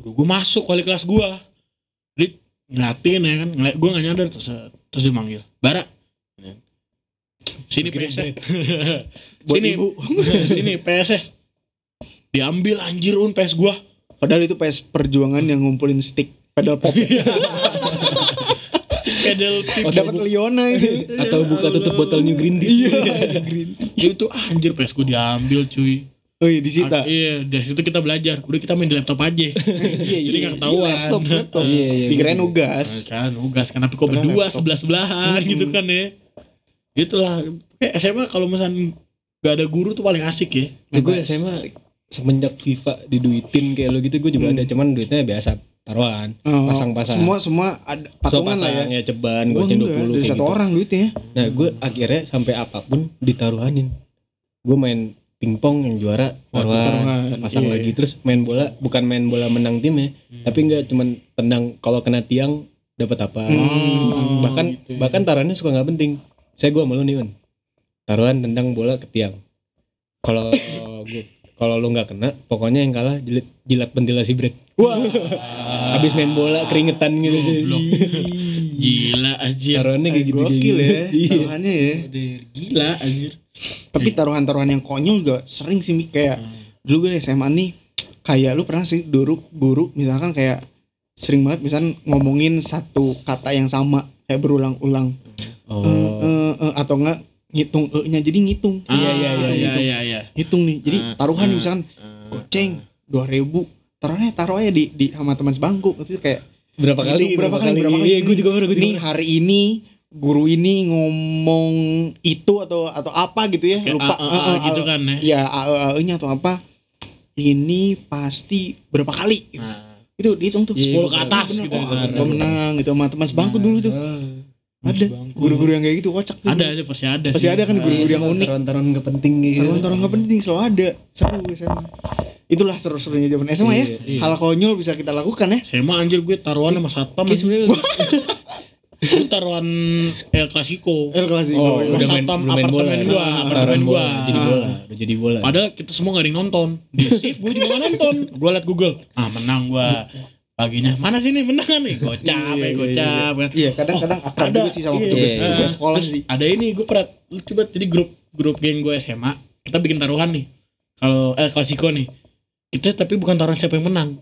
S3: guru gue masuk wali kelas gua. Dia ngeliatin ya kan, ngeliat gue gak nyadar terus set. terus dia manggil. Bara. Sini
S1: Mikirin [LAUGHS]
S3: PS.
S2: Buat
S3: Sini
S2: ibu.
S3: [LAUGHS] sini PS -nya. diambil anjir un PS gua
S2: Padahal itu PS perjuangan yang ngumpulin stick pedal pop.
S3: pedal tip
S1: Oh,
S2: Dapat
S1: bu-
S2: Leona
S1: [LAUGHS]
S2: itu.
S1: Atau buka tutup botol New Green Tea.
S2: Iya, ada green. tea.
S3: itu ah, anjir PS gua diambil cuy
S2: Oh iya
S3: Ah,
S2: disita.
S3: [LAUGHS] iya dari situ kita belajar udah kita main di laptop aja
S2: Iya
S3: Jadi nggak ketahuan.
S2: Laptop, laptop.
S1: Iya, iya,
S2: Dikirain
S1: betul.
S3: Nah,
S2: nugas.
S3: kan ugas kan tapi kok
S2: Padahal
S3: berdua
S2: laptop.
S3: sebelah sebelahan
S1: Hmm.
S2: Mm-mm.
S3: gitu kan ya itulah kayak SMA kalau misalnya nggak ada guru tuh paling asik ya
S1: Gue
S2: Nugas.
S1: SMA
S2: Asik.
S1: semenjak FIFA diduitin kayak lo gitu gue juga
S2: Hmm.
S1: ada cuman duitnya biasa taruhan
S2: Oh,
S1: Pasang-pasang.
S2: Semua semua ada patungan
S1: so,
S2: lah ya.
S1: pasang, ceban
S2: Gua
S1: goceng 20
S2: enggak, dari
S1: kayak
S2: satu
S1: gitu.
S2: orang duitnya. ya.
S3: Ah,
S1: nah gue akhirnya sampai apapun ditaruhanin gue main pingpong yang juara
S3: Waduh,
S1: taruhan pasang
S3: Iya.
S1: lagi terus main bola bukan main bola menang tim ya
S3: Hmm.
S1: tapi enggak cuman tendang kalau kena tiang dapat apa
S2: Hmm,
S1: bahkan
S3: gitu ya.
S1: bahkan taruhannya suka nggak penting saya gua malu nih un taruhan tendang bola ke tiang kalau gua kalau lu nggak kena pokoknya yang kalah jilat jilat ventilasi break wah habis main bola keringetan gitu sih
S2: [LAUGHS]
S3: Goblok. Eh, gila anjir
S1: taruhannya
S2: Kayak
S1: kayak gitu kayak gitu.
S2: gokil ya
S1: [LAUGHS] Iya.
S2: taruhannya ya.
S3: Udah, gila anjir
S2: Tapi
S3: Iya.
S2: taruhan-taruhan yang konyol gak sering sih
S3: Hmm.
S2: Mik. kayak dulu gue di SMA nih kayak lu pernah sih dulu guru misalkan kayak sering banget misalkan ngomongin satu kata yang sama kayak berulang-ulang Eh,
S1: oh
S2: eh, eh, atau enggak ngitung e-nya jadi ngitung
S3: Ah, iya iya iya
S2: Ngitung, ngitung.
S3: iya iya
S2: Hitung nih jadi
S3: Ah,
S2: taruhan nih
S3: ah.
S2: misalkan "Oh, goceng 2000 taruhnya taruh aja di di sama teman sebangku itu kayak
S1: berapa kali
S2: Gitu, berapa kali, berapa kali.
S1: iya gue juga baru gue juga
S2: ini
S1: baru.
S2: hari ini guru ini ngomong itu atau atau apa gitu ya
S3: Kayak
S2: lupa
S3: A, A, A
S2: Eh, eh,
S3: gitu kan ya
S2: ya AE-nya atau apa ini pasti berapa kali gitu.
S3: Nah,
S2: itu dihitung tuh
S1: Iya,
S2: 10
S1: bener.
S2: ke atas
S3: Bener,
S2: gitu
S3: oh, bener.
S2: gue menang gitu sama teman sebangku
S3: nah,
S2: dulu tuh
S3: Mas
S2: Ada,
S3: Bangku.
S2: guru-guru yang kayak gitu kocak tuh
S3: ada Iya. ada pasti ada
S2: Pasti
S3: sih.
S2: ada kan
S3: Ah,
S2: guru-guru yang unik.
S1: taruhan-taruhan nggak penting gitu
S2: taruhan-taruhan nggak penting selalu ada seru gue SMA itulah seru-serunya zaman SMA ya
S1: Iya.
S3: Iya.
S2: hal konyol bisa kita lakukan ya
S3: Saya mah anjir gue taruhan sama satpam
S1: Oke,
S3: anjir.
S1: sebenarnya
S3: Gue taruhan El Clasico
S2: El
S1: Oh,
S2: Clasico ya.
S1: udah main,
S3: Satpam
S1: udah main bola.
S3: apartemen gua,
S1: Taruhan
S3: apartemen
S1: bola,
S3: gua.
S1: Jadi
S2: Ah.
S1: bola, udah jadi bola.
S3: Padahal kita semua gak ada yang nonton Di shift gue juga gak nonton Gue liat Google Ah menang gue Paginya Mana sih nih menang kan
S2: [LAUGHS]
S3: nih Gocap
S2: Iya,
S3: ya
S2: iya,
S3: gocap kan
S2: iya kadang-kadang akrab
S3: ada.
S2: juga sih sama
S3: Iya,
S1: iya.
S2: petugas-petugas sekolah
S3: Terus
S2: sih
S3: ada ini gue pernah lu Coba jadi grup grup geng gue SMA Kita bikin taruhan nih Kalau El Clasico nih Kita tapi bukan taruhan siapa yang menang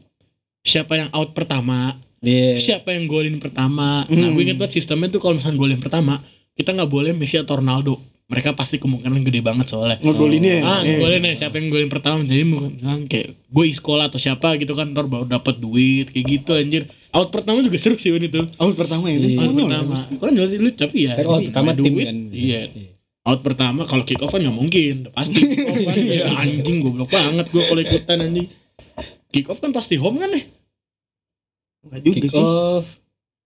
S3: Siapa yang out pertama
S1: Iya.
S3: Siapa yang golin pertama Nah gue
S2: Hmm.
S3: inget banget sistemnya tuh Kalau misalnya golin pertama Kita gak boleh Messi atau Ronaldo Mereka pasti kemungkinan gede banget soalnya
S2: ngogolinnya
S3: ah
S2: Iya.
S3: golin ya siapa yang golin pertama jadi misalkan kayak gue sekolah atau siapa gitu kan ntar baru dapat duit kayak gitu anjir out pertama juga seru sih Wan, itu
S2: oh pertama ya itu
S1: Iya.
S3: out
S2: konyol ya.
S3: pertama kan jelas sih lu tapi ya
S1: Kan kalau
S3: ini
S1: pertama
S3: namanya
S1: tim
S3: duit,
S1: kan.
S3: iya out pertama kalau kick off kan nggak mungkin udah pasti kick off
S1: [LAUGHS]
S3: kan ya anjing goblok banget gue kalau ikutan anjing kick off kan pasti home kan ya
S2: Nggak juga
S1: Kick
S2: sih
S1: off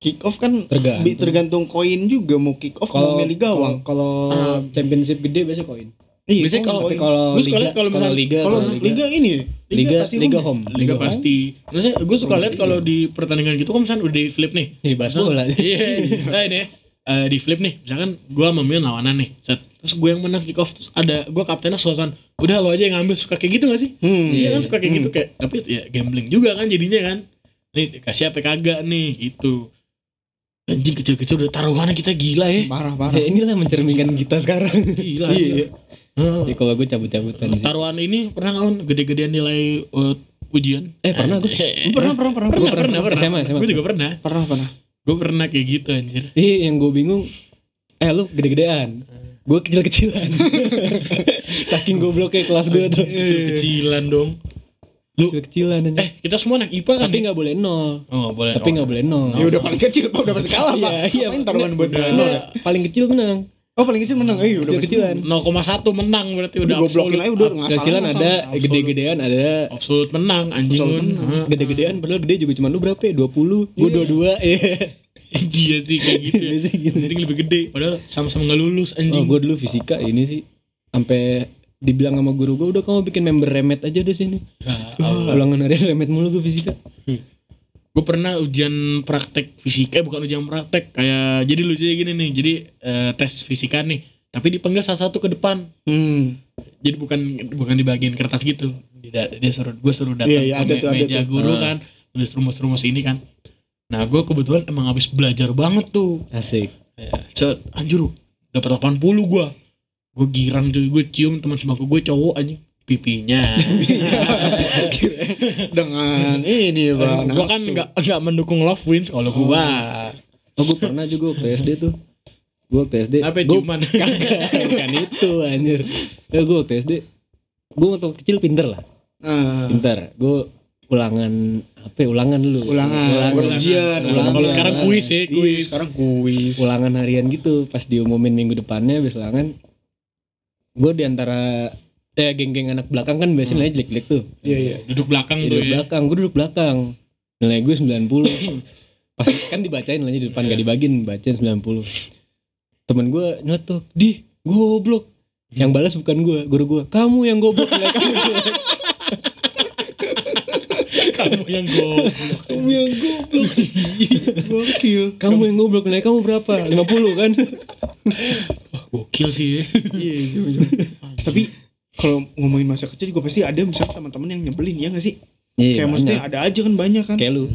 S2: kick off kan
S1: tergantung.
S2: bi- tergantung koin juga mau kick off mau milih gawang
S1: Kalau
S3: Ah.
S1: kalau championship gede biasa koin.
S2: Iya,
S3: biasanya
S2: koin-
S3: kalau-
S1: Tapi
S2: koin.
S1: kalau
S3: Terus kalau-
S1: liga
S3: kalau
S1: kalau
S3: misalkan-
S1: liga
S2: kalau
S1: kalau
S2: liga ini
S1: liga liga
S2: home.
S1: home.
S3: liga
S1: home.
S3: pasti maksudnya gue suka lihat kalau di pertandingan gitu kan misalnya udah di flip nih
S1: Jadi bahas bola.
S3: [LAUGHS] Iya. Nah ini ya, eh, di flip nih, misalkan gue sama Mion lawanan nih, set. terus gue yang menang kick off, terus ada gue kaptennya suasan, udah lo aja yang ngambil suka kayak gitu gak sih?
S2: Hmm.
S3: Iya kan suka kayak
S2: Hmm.
S3: gitu kayak, tapi ya gambling juga kan jadinya kan. Nih kasih apa kagak nih gitu. Anjing kecil-kecil udah taruhannya kita gila ya.
S1: Ya,
S2: Parah parah.
S1: inilah mencerminkan kita sekarang.
S3: Gila.
S2: Iya, iya.
S3: iya. Kan
S1: Jadi
S3: Heeh.
S1: kalau gue cabut-cabutan sih.
S3: Taruhan ini pernah ngawon gede-gedean nilai eh, ujian?
S1: Eh, pernah gue.
S3: Eh,
S2: Pernah pernah pernah.
S3: pernah,
S1: Gua pernah.
S3: pernah, pernah.
S1: SMA, SMA.
S3: Gue juga pernah.
S2: Pernah pernah.
S3: Gue pernah kayak gitu anjir.
S1: Ih, yang gue bingung Eh lu gede-gedean Gue [LAUGHS] kecil-kecilan Saking gobloknya kelas gue tuh
S3: Kecil-kecilan dong.
S1: Kecil-kecilan aja
S3: Eh, kita semua anak IPA kan?
S1: Tapi
S3: ya?
S1: gak boleh nol
S3: Oh, boleh.
S1: Tapi gak boleh nol
S2: Ya udah paling kecil Pak, udah pasti kalah Pak.
S1: Iya, iya.
S2: Apain taruhan buat
S3: Udah.
S2: nol ya?
S1: Nah, Paling kecil menang
S2: Oh paling kecil menang. Eh udah pasti.
S3: Oh.
S1: Kecil-kecilan
S3: 0,1 menang berarti udah
S2: Udah goblokin aja udah nggak salah,
S1: Kecilan
S2: nggak
S1: ada
S3: Absolut.
S1: Gede-gedean ada
S3: Absolut menang anjing.
S2: Absolut
S3: Absolut
S2: menang.
S1: Gede-gedean Padahal gede juga cuma lu berapa ya 20 Gue
S2: Iya.
S1: 22 Iya
S3: [LAUGHS] Iya sih kayak gitu. ya.
S1: Biasanya gitu.
S3: Jadi lebih gede padahal sama-sama nggak lulus
S1: Oh
S3: anjing.
S1: gue dulu fisika ini sih Sampai dibilang sama guru gue udah kamu bikin member remet aja deh sini
S3: Nah,
S1: ulangan harian remet mulu gue fisika
S3: gue uh, pernah ujian praktek fisika eh, bukan ujian praktek kayak jadi lucunya gini nih. Jadi eh, tes fisika nih, tapi dipanggil salah satu ke depan.
S2: Hmm.
S3: Jadi bukan bukan di bagian kertas gitu. Dia, dia suruh gue suruh datang
S2: Iya, iya,
S3: ke
S2: ada
S3: me-
S2: tuh, ada
S3: meja
S2: tuh.
S3: guru
S1: Ah.
S3: kan, tulis rumus-rumus ini kan. Nah, gue kebetulan emang habis belajar banget tuh.
S1: asik
S3: Ya, cet, anjir dapat 80 gua. Gua girang cuy, gua cium teman sebangku gua cowok anjing pipinya.
S2: Dengan ini Pak.
S3: gua kan
S2: nafsu.
S3: enggak enggak mendukung love wins kalau gua.
S1: Oh gue pernah juga waktu SD tuh Gue waktu SD
S3: Apa
S1: gua-
S3: ciuman?
S1: Kagak Bukan itu anjir Ya gue waktu SD Gue waktu kecil pinter lah
S2: Ah,
S1: Pinter Gue ulangan Apa ya, ulangan dulu
S2: Ulangan,
S1: ulangan,
S2: ulangan. ujian,
S3: ulangan. Kalau
S1: ulangan.
S3: sekarang kuis ya,
S2: Iya,
S3: kuis.
S2: sekarang kuis.
S1: Ulangan harian gitu Pas diumumin minggu depannya Abis ulangan Gue diantara eh geng-geng anak belakang kan biasanya nilainya jelek-jelek tuh
S2: Iya iya.
S3: Duduk belakang tuh
S1: duduk
S3: ya.
S1: belakang gue duduk belakang nilai gue 90 [CLEARS THROAT] pas kan dibacain nilainya di depan gak dibagiin bacain 90 temen gue nyetok di goblok yang balas bukan gue guru gue kamu yang goblok nilai kamu jelek."
S3: Kamu yang goblok.
S2: Kamu yang goblok. Gokil.
S1: kamu yang goblok nilai kamu berapa 50 kan
S3: Oh, Gokil sih.
S2: Iya, iya, iya. Tapi kalau ngomongin masa kecil juga pasti ada misalnya teman-teman yang nyebelin ya gak sih?
S1: Iya,
S2: kayak maksudnya ada aja kan banyak kan.
S1: kayak lu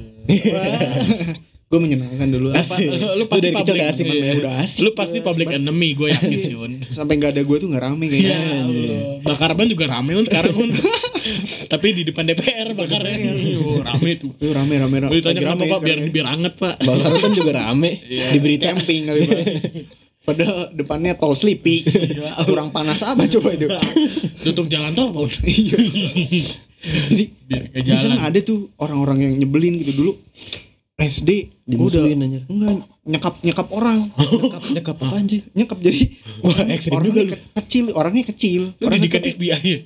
S2: Gue menyenangkan dulu apa?
S1: Asik. Lu
S3: Lu
S1: dari kecil udah asik.
S2: Emang ya udah asik. Iya,
S3: Lu pasti public enemy gue yakin sih, Un.
S2: Sampai nggak ada gue tuh nggak rame kayaknya.
S3: Ya,
S1: Iya.
S3: Allah. bakar ban juga rame kan sekarang kan. Tapi di depan DPR bakarnya Yo, rame tuh.
S2: Lu rame rame rame.
S3: Gue ditanya
S2: Lagi
S3: kenapa
S2: rame
S3: Pak biar
S2: sekarang ya.
S3: biar anget, Pak.
S1: bakar kan juga rame
S2: Iya.
S1: di berita
S2: camping kali Pak. Padahal depannya tol Sleepy. Kurang panas apa coba itu?
S3: Tutup jalan tol, Pak. Un.
S2: [LAUGHS] Iya. Jadi
S3: Biar ke
S2: misalnya
S3: jalan.
S2: ada tuh orang-orang yang nyebelin gitu dulu. SD gua udah
S1: dimusuhin anjir
S2: enggak nyekap nyekap orang
S1: nyekap nyekap apa anjir
S2: nyekap jadi
S1: [LAUGHS] wah ekstrim juga
S2: orangnya
S1: lu
S2: ke- kecil orangnya kecil
S3: Lu
S2: orangnya
S3: didikat
S2: kecil.
S3: FBI ya.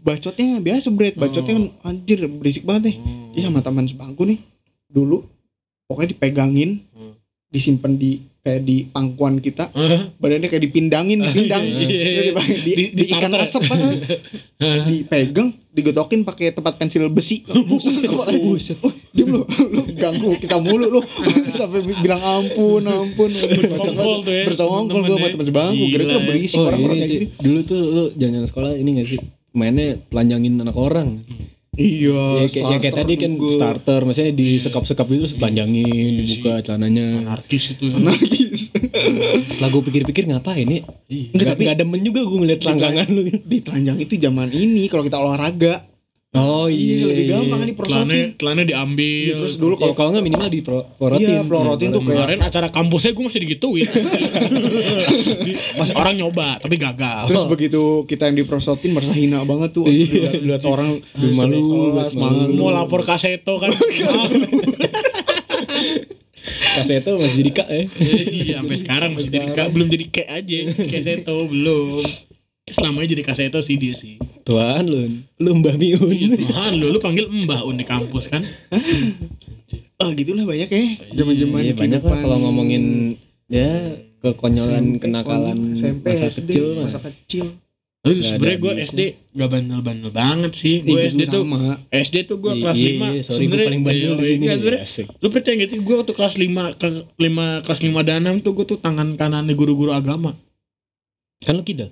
S2: bacotnya biasa bret bacotnya kan
S1: Oh.
S2: anjir berisik banget nih iya, jadi sama teman sebangku nih dulu pokoknya dipegangin
S3: Hmm.
S2: disimpan di kayak di pangkuan kita
S3: Hah?
S2: badannya kayak
S3: [LAUGHS]
S2: dipindangin dipindang
S3: Iya, iya, iya.
S2: Udah dipakai- di,
S3: Di-
S2: di,
S3: di
S2: ikan
S3: starter.
S2: asap kan dipegang digetokin pakai tempat pensil
S3: [LAUGHS]
S2: besi buset kepalanya.
S1: Buset.
S2: Oh, diem lu lu ganggu kita mulu lu [LAUGHS] sampai bilang ampun ampun ampun
S3: Bersekongkol
S2: Bacot banget.
S3: tuh ya,
S2: bersekongkol
S3: temen-temen
S2: gue sama
S3: ya.
S2: teman sebangku
S3: Gila
S2: kira-kira
S3: ya.
S2: berisik
S1: Oh,
S2: orang-orang
S1: ini
S2: kayak
S1: sih.
S2: gini
S1: Dulu tuh lu jangan sekolah ini gak sih? Mainnya telanjangin anak orang.
S2: Iya,
S1: ya, kayak, ya, kayak tadi kan
S3: [LAUGHS]
S1: starter, maksudnya di sekap-sekap itu terus telanjangin,
S3: Iya
S1: dibuka celananya.
S3: Anarkis itu
S2: Nah,
S3: ya.
S2: Nangis.
S1: Setelah gue pikir-pikir ngapain ya?
S3: Iya.
S1: Enggak,
S2: Enggak,
S1: tapi
S2: tapi-
S1: gak demen juga gue ngeliat langgangan lu.
S2: Di telanjang itu zaman ini kalau kita olahraga.
S1: Oh iya.
S2: lebih gampang kan
S3: Telannya,
S2: diperosotin.
S3: telannya diambil.
S2: Iya, terus dulu
S1: Kalau
S2: kalau
S1: kalau nggak minimal di pro, porotin.
S2: Iya, pelorotin tuh kayak
S3: Kemarin acara kampusnya gue masih digituin.
S2: [LAUGHS]
S3: Masih orang nyoba tapi gagal.
S2: terus begitu kita yang diperosotin merasa hina banget tuh.
S1: Iya.
S2: Lihat- Lihat orang
S1: Aduh, malu,
S2: kelas,
S1: buat malu.
S3: mau lapor ke Seto
S2: [LAUGHS]
S3: kan. Malu.
S1: Kaseto masih jadi kak ya.
S3: Iya, sampai sekarang masih jadi kak, belum jadi kek aja, kek Seto belum. Selamanya jadi kaseto sih dia
S2: [LAUGHS]
S3: sih.
S1: Tuan lu, lu Mbah
S3: Iya,
S1: Miun.
S3: Tuhan lu, lu panggil Mbah Un di kampus kan?
S2: Ah, gitulah banyak ya. Zaman-zaman
S1: Iya, banyak lah
S2: kehidupan.
S1: kalau ngomongin ya kekonyolan
S2: SMP,
S1: kenakalan
S2: SMP,
S1: masa
S2: SD,
S1: kecil mah.
S2: masa kecil.
S3: Tapi
S1: Nggak ada
S3: sebenernya gue
S1: habisnya.
S3: SD gak bandel-bandel banget sih. Gue
S2: Ih,
S3: SD tuh,
S2: sama.
S3: SD tuh gue
S1: Iya,
S3: kelas iya,
S1: iya,
S3: 5.
S1: iya, sorry gue paling bandel di sini. Asik.
S3: Lu percaya gak sih gue waktu kelas 5 ke 5 kelas 5 dan 6 tuh gue tuh tangan kanannya guru-guru agama.
S1: Kan lu kidal.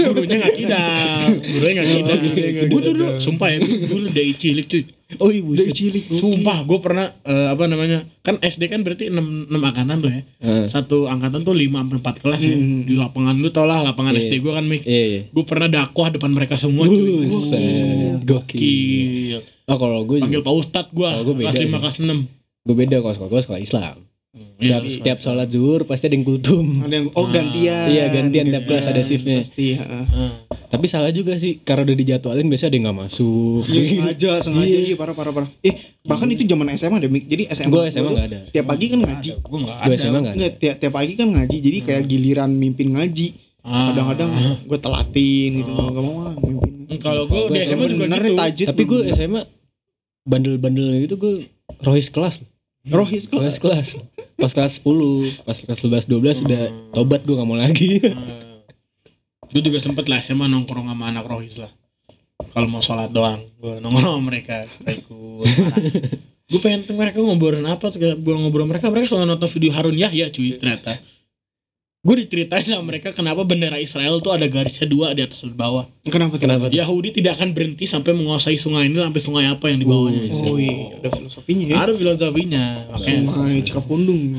S3: Gurunya gak kidal, gurunya gak kidal.
S2: gurunya nggak
S3: Gue tuh dulu
S2: kidal.
S3: sumpah ya, gue dulu dari cilik cuy.
S1: Oh iya
S2: Dari cilik.
S3: Sumpah gue pernah eh, apa namanya? Kan SD kan berarti 6 6 angkatan tuh ya. Satu angkatan tuh 5 sampai 4 kelas ya.
S2: Hmm.
S3: Di lapangan lu tau lah, lapangan
S1: Iya.
S3: SD gue kan Mik.
S1: Iya iya.
S3: Gue pernah dakwah depan mereka semua cuy.
S2: Iya.
S1: Buset, gokil.
S3: Gokil.
S1: Oh kalau gue
S3: Panggil
S1: juga,
S3: Pak Ustad gua,
S1: Kalau gua beda
S3: kelas
S1: sih.
S3: 5 kelas 6.
S1: gue beda kalau sekolah gue sekolah Islam.
S3: Iya,
S1: Tiap, tiap sholat zuhur pasti ada yang kultum.
S2: Ada yang oh
S3: Ah,
S2: gantian. Iya,
S1: iya, gantian tiap kelas ada shiftnya.
S2: Pasti, heeh.
S3: Eh.
S1: Tapi salah juga sih, karena udah dijadwalin biasanya ada yang nggak masuk.
S2: Iya
S1: [LAUGHS]
S2: sengaja, sengaja
S1: Iya.
S2: iya parah parah parah. Eh bahkan itu zaman SMA deh, Mik. Jadi SMA.
S1: gue SMA
S2: gua tuh
S1: nggak ada.
S2: Tiap pagi kan ngaji.
S3: Gua enggak ada.
S1: Gue SMA nggak ada. Nah.
S2: Enggak, tiap, tiap pagi kan ngaji. Jadi kayak giliran mimpin ngaji.
S3: Ah.
S2: Kadang-kadang gue telatin gitu,
S3: Ah.
S2: nggak mau ah mimpin.
S3: kalau gua
S1: Gua SMA
S3: di
S2: Ya,
S3: SMA juga
S2: bener
S3: gitu.
S2: tajid.
S1: Tapi gue SMA bandel-bandel gitu gue rohis kelas.
S3: Hmm.
S2: rohis kok.
S1: Rohis kelas. Pas kelas 10, pas kelas 11, 12 udah
S3: Hmm.
S1: tobat gue nggak mau lagi.
S3: Gue Hmm. juga sempet lah SMA nongkrong sama anak rohis lah. Kalau mau sholat doang, gue nongkrong sama mereka. Ikut.
S2: [LAUGHS]
S3: gue pengen tuh mereka ngobrolin apa, gue ngobrol mereka, mereka selalu nonton video Harun Yahya cuy ternyata. Gue diceritain sama mereka kenapa bendera Israel tuh ada garisnya dua di atas dan bawah.
S2: Kenapa? tuh?
S1: Kenapa?
S3: Yahudi tidak akan berhenti sampai menguasai sungai ini sampai sungai apa yang dibawahnya.
S2: Oh iya, ada filosofinya ya.
S3: Ada filosofinya, makanya
S2: Sungai [LAUGHS] Cikapundung,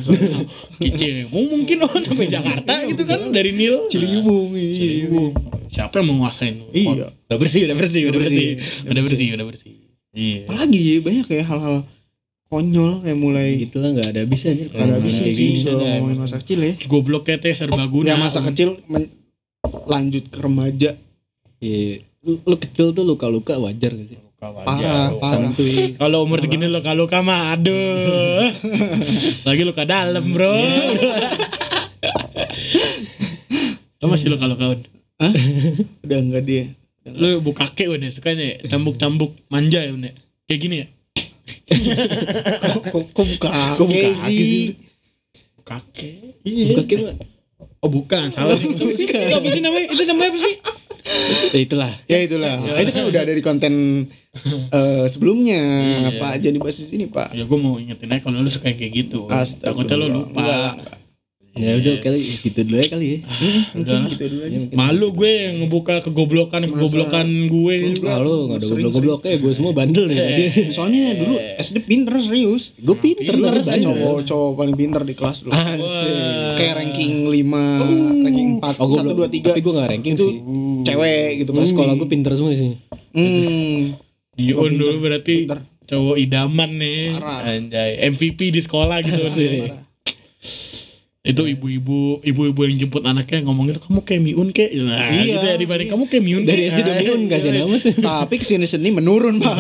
S3: kecil. Mungkin oh sampai Jakarta gitu kan dari Nil.
S2: Ciliwung, iya, iya.
S3: Ciliwung. Siapa yang mau nguasain?
S2: Iya.
S3: Udah bersih, udah bersih, udah
S2: Udah
S3: bersih.
S2: bersih,
S3: Udah bersih, udah bersih. Iya.
S1: [LAUGHS]
S2: Apalagi ya, banyak ya hal-hal konyol kayak mulai
S1: gitu lah nggak ada habisnya nih.
S2: Gak ada habisnya
S3: Iya,
S2: sih
S3: iya,
S2: kalau
S3: iya.
S2: ngomongin masa kecil ya.
S3: Gobloknya teh serbaguna.
S2: Ya masa kecil men- lanjut ke remaja
S1: Iya. Lu, lu kecil tuh luka-luka wajar gak sih?
S3: Luka wajar.
S2: Parah, parah.
S1: Santuy.
S3: Kalau umur segini luka-luka mah
S2: [LAUGHS]
S3: aduh. Lagi luka
S2: Iya.
S3: dalam, Bro. Lo masih luka-luka. Un?
S2: Eh, Hah? Udah enggak dia.
S3: Lu buka kek udah sukanya ya? Cambuk-cambuk manja ya udah Kayak gini ya?
S2: Kok, kok, kok buka
S1: Kok buka
S2: kaki
S1: kaki
S2: sih?
S1: sih? Iya.
S3: Buka kek
S1: Buka kek, Pak.
S3: Oh bukan, salah
S2: [LAUGHS] Itu apa sih namanya? Itu namanya apa sih?
S1: Ya itulah.
S2: Ya itulah. Itu kan udah ada di [LAUGHS] konten eh, sebelumnya,
S3: Iya.
S2: Pak. Jadi basis ini, Pak.
S3: Ya gue mau ingetin aja kalau lu suka yang kayak gitu Takutnya lu lupa
S2: Enggak lah, enggak.
S1: Ya udah kali gitu dulu ya kali ya.
S2: Mungkin
S3: Udahlah.
S2: gitu dulu aja.
S1: Ya, mungkin.
S3: Malu gue yang ngebuka kegoblokan-kegoblokan gue
S2: Goblok.
S1: Wah, lu nggak ada
S2: Sering,
S1: goblok-goblok ya, gue semua bandel nih.
S3: Eh.
S2: Soalnya dulu SD pinter serius.
S1: Gue pinter
S3: Pinter
S1: lu
S3: saya,
S1: bandel.
S2: Cowok-cowok paling pinter di kelas dulu.
S1: Asik.
S2: Kayak ranking 5, ranking 4,
S1: Ah. Oh, gue
S2: 1 2 3
S1: Tapi gue gak ranking
S2: Itu
S1: sih.
S2: cewek gitu
S1: Pas sekolah gue pinter semua sih.
S2: Hmm.
S3: Yun dulu berarti
S2: Pinter.
S3: cowok idaman nih
S2: Parah.
S3: Anjay MVP di sekolah gitu
S1: Asik.
S3: Itu ibu-ibu Ibu-ibu yang jemput anaknya ngomongin Kamu kayak Miun kek nah,
S2: Iya,
S3: gitu ya, Dibanding
S2: iya.
S3: kamu kayak Miun
S1: Dari
S3: kek."
S1: SD udah
S3: Ah,
S1: miun
S3: iya. [LAUGHS]
S1: kasihan amat.
S2: Tapi kesini seni menurun,
S1: [LAUGHS]
S2: Pak.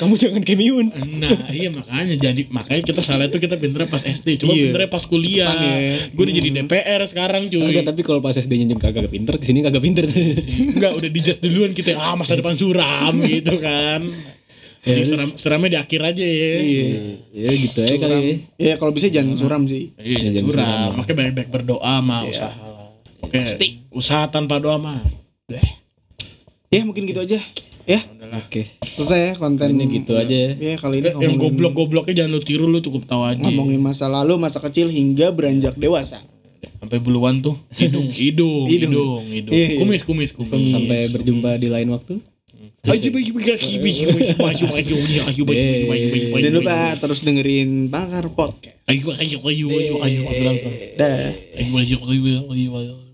S1: Kamu jangan kayak miun.
S3: Nah iya makanya jadi Makanya kita salah itu kita pinternya pas SD Cuma
S2: Iya.
S3: pinternya pas kuliah
S2: Cepetan ya.
S3: Gue udah jadi DPR sekarang cuy
S1: Kagak, tapi kalau pas SD-nya juga kagak pinter, kesini kagak pinter.
S3: Enggak udah dijudge duluan kita Ah masa depan suram gitu kan
S1: Ya,
S3: Jadi
S1: terus-
S3: suram, suramnya di akhir aja ya
S2: Iya.
S1: Ya gitu aja kali ya.
S2: Ya kalau bisa jangan suram sih.
S1: Ya,
S3: Iya,
S1: jangan
S3: curang.
S1: suram.
S3: Makanya banyak-banyak berdoa mah
S2: Iya.
S3: usaha lah. Oke,
S2: Pasti.
S3: usaha tanpa doa mah.
S2: Ya mungkin gitu aja.
S3: Udahlah.
S1: Oke,
S2: Selesai ya konten
S1: ini gitu aja ya.
S2: Ya kali ini
S3: Yang
S2: ngomongin-
S3: goblok-gobloknya jangan lu tiru lu cukup tahu aja.
S2: ngomongin masa lalu, masa kecil hingga beranjak dewasa.
S3: Sampai buluan tuh hidung, hidung,
S2: Hidung.
S3: hidung, hidung.
S2: Iya, iya.
S3: Kumis, kumis, kumis.
S1: Sampai berjumpa di lain waktu.
S3: Ayo baju baju kaki baju baju baju baju baju baju baju baju baju baju.
S2: Jangan lupa terus dengerin Bakar Podcast.
S3: Iya, Ayo ayo ayo ayo ayo ayo.
S2: Dah.
S3: Ayo ayo ayo ayo.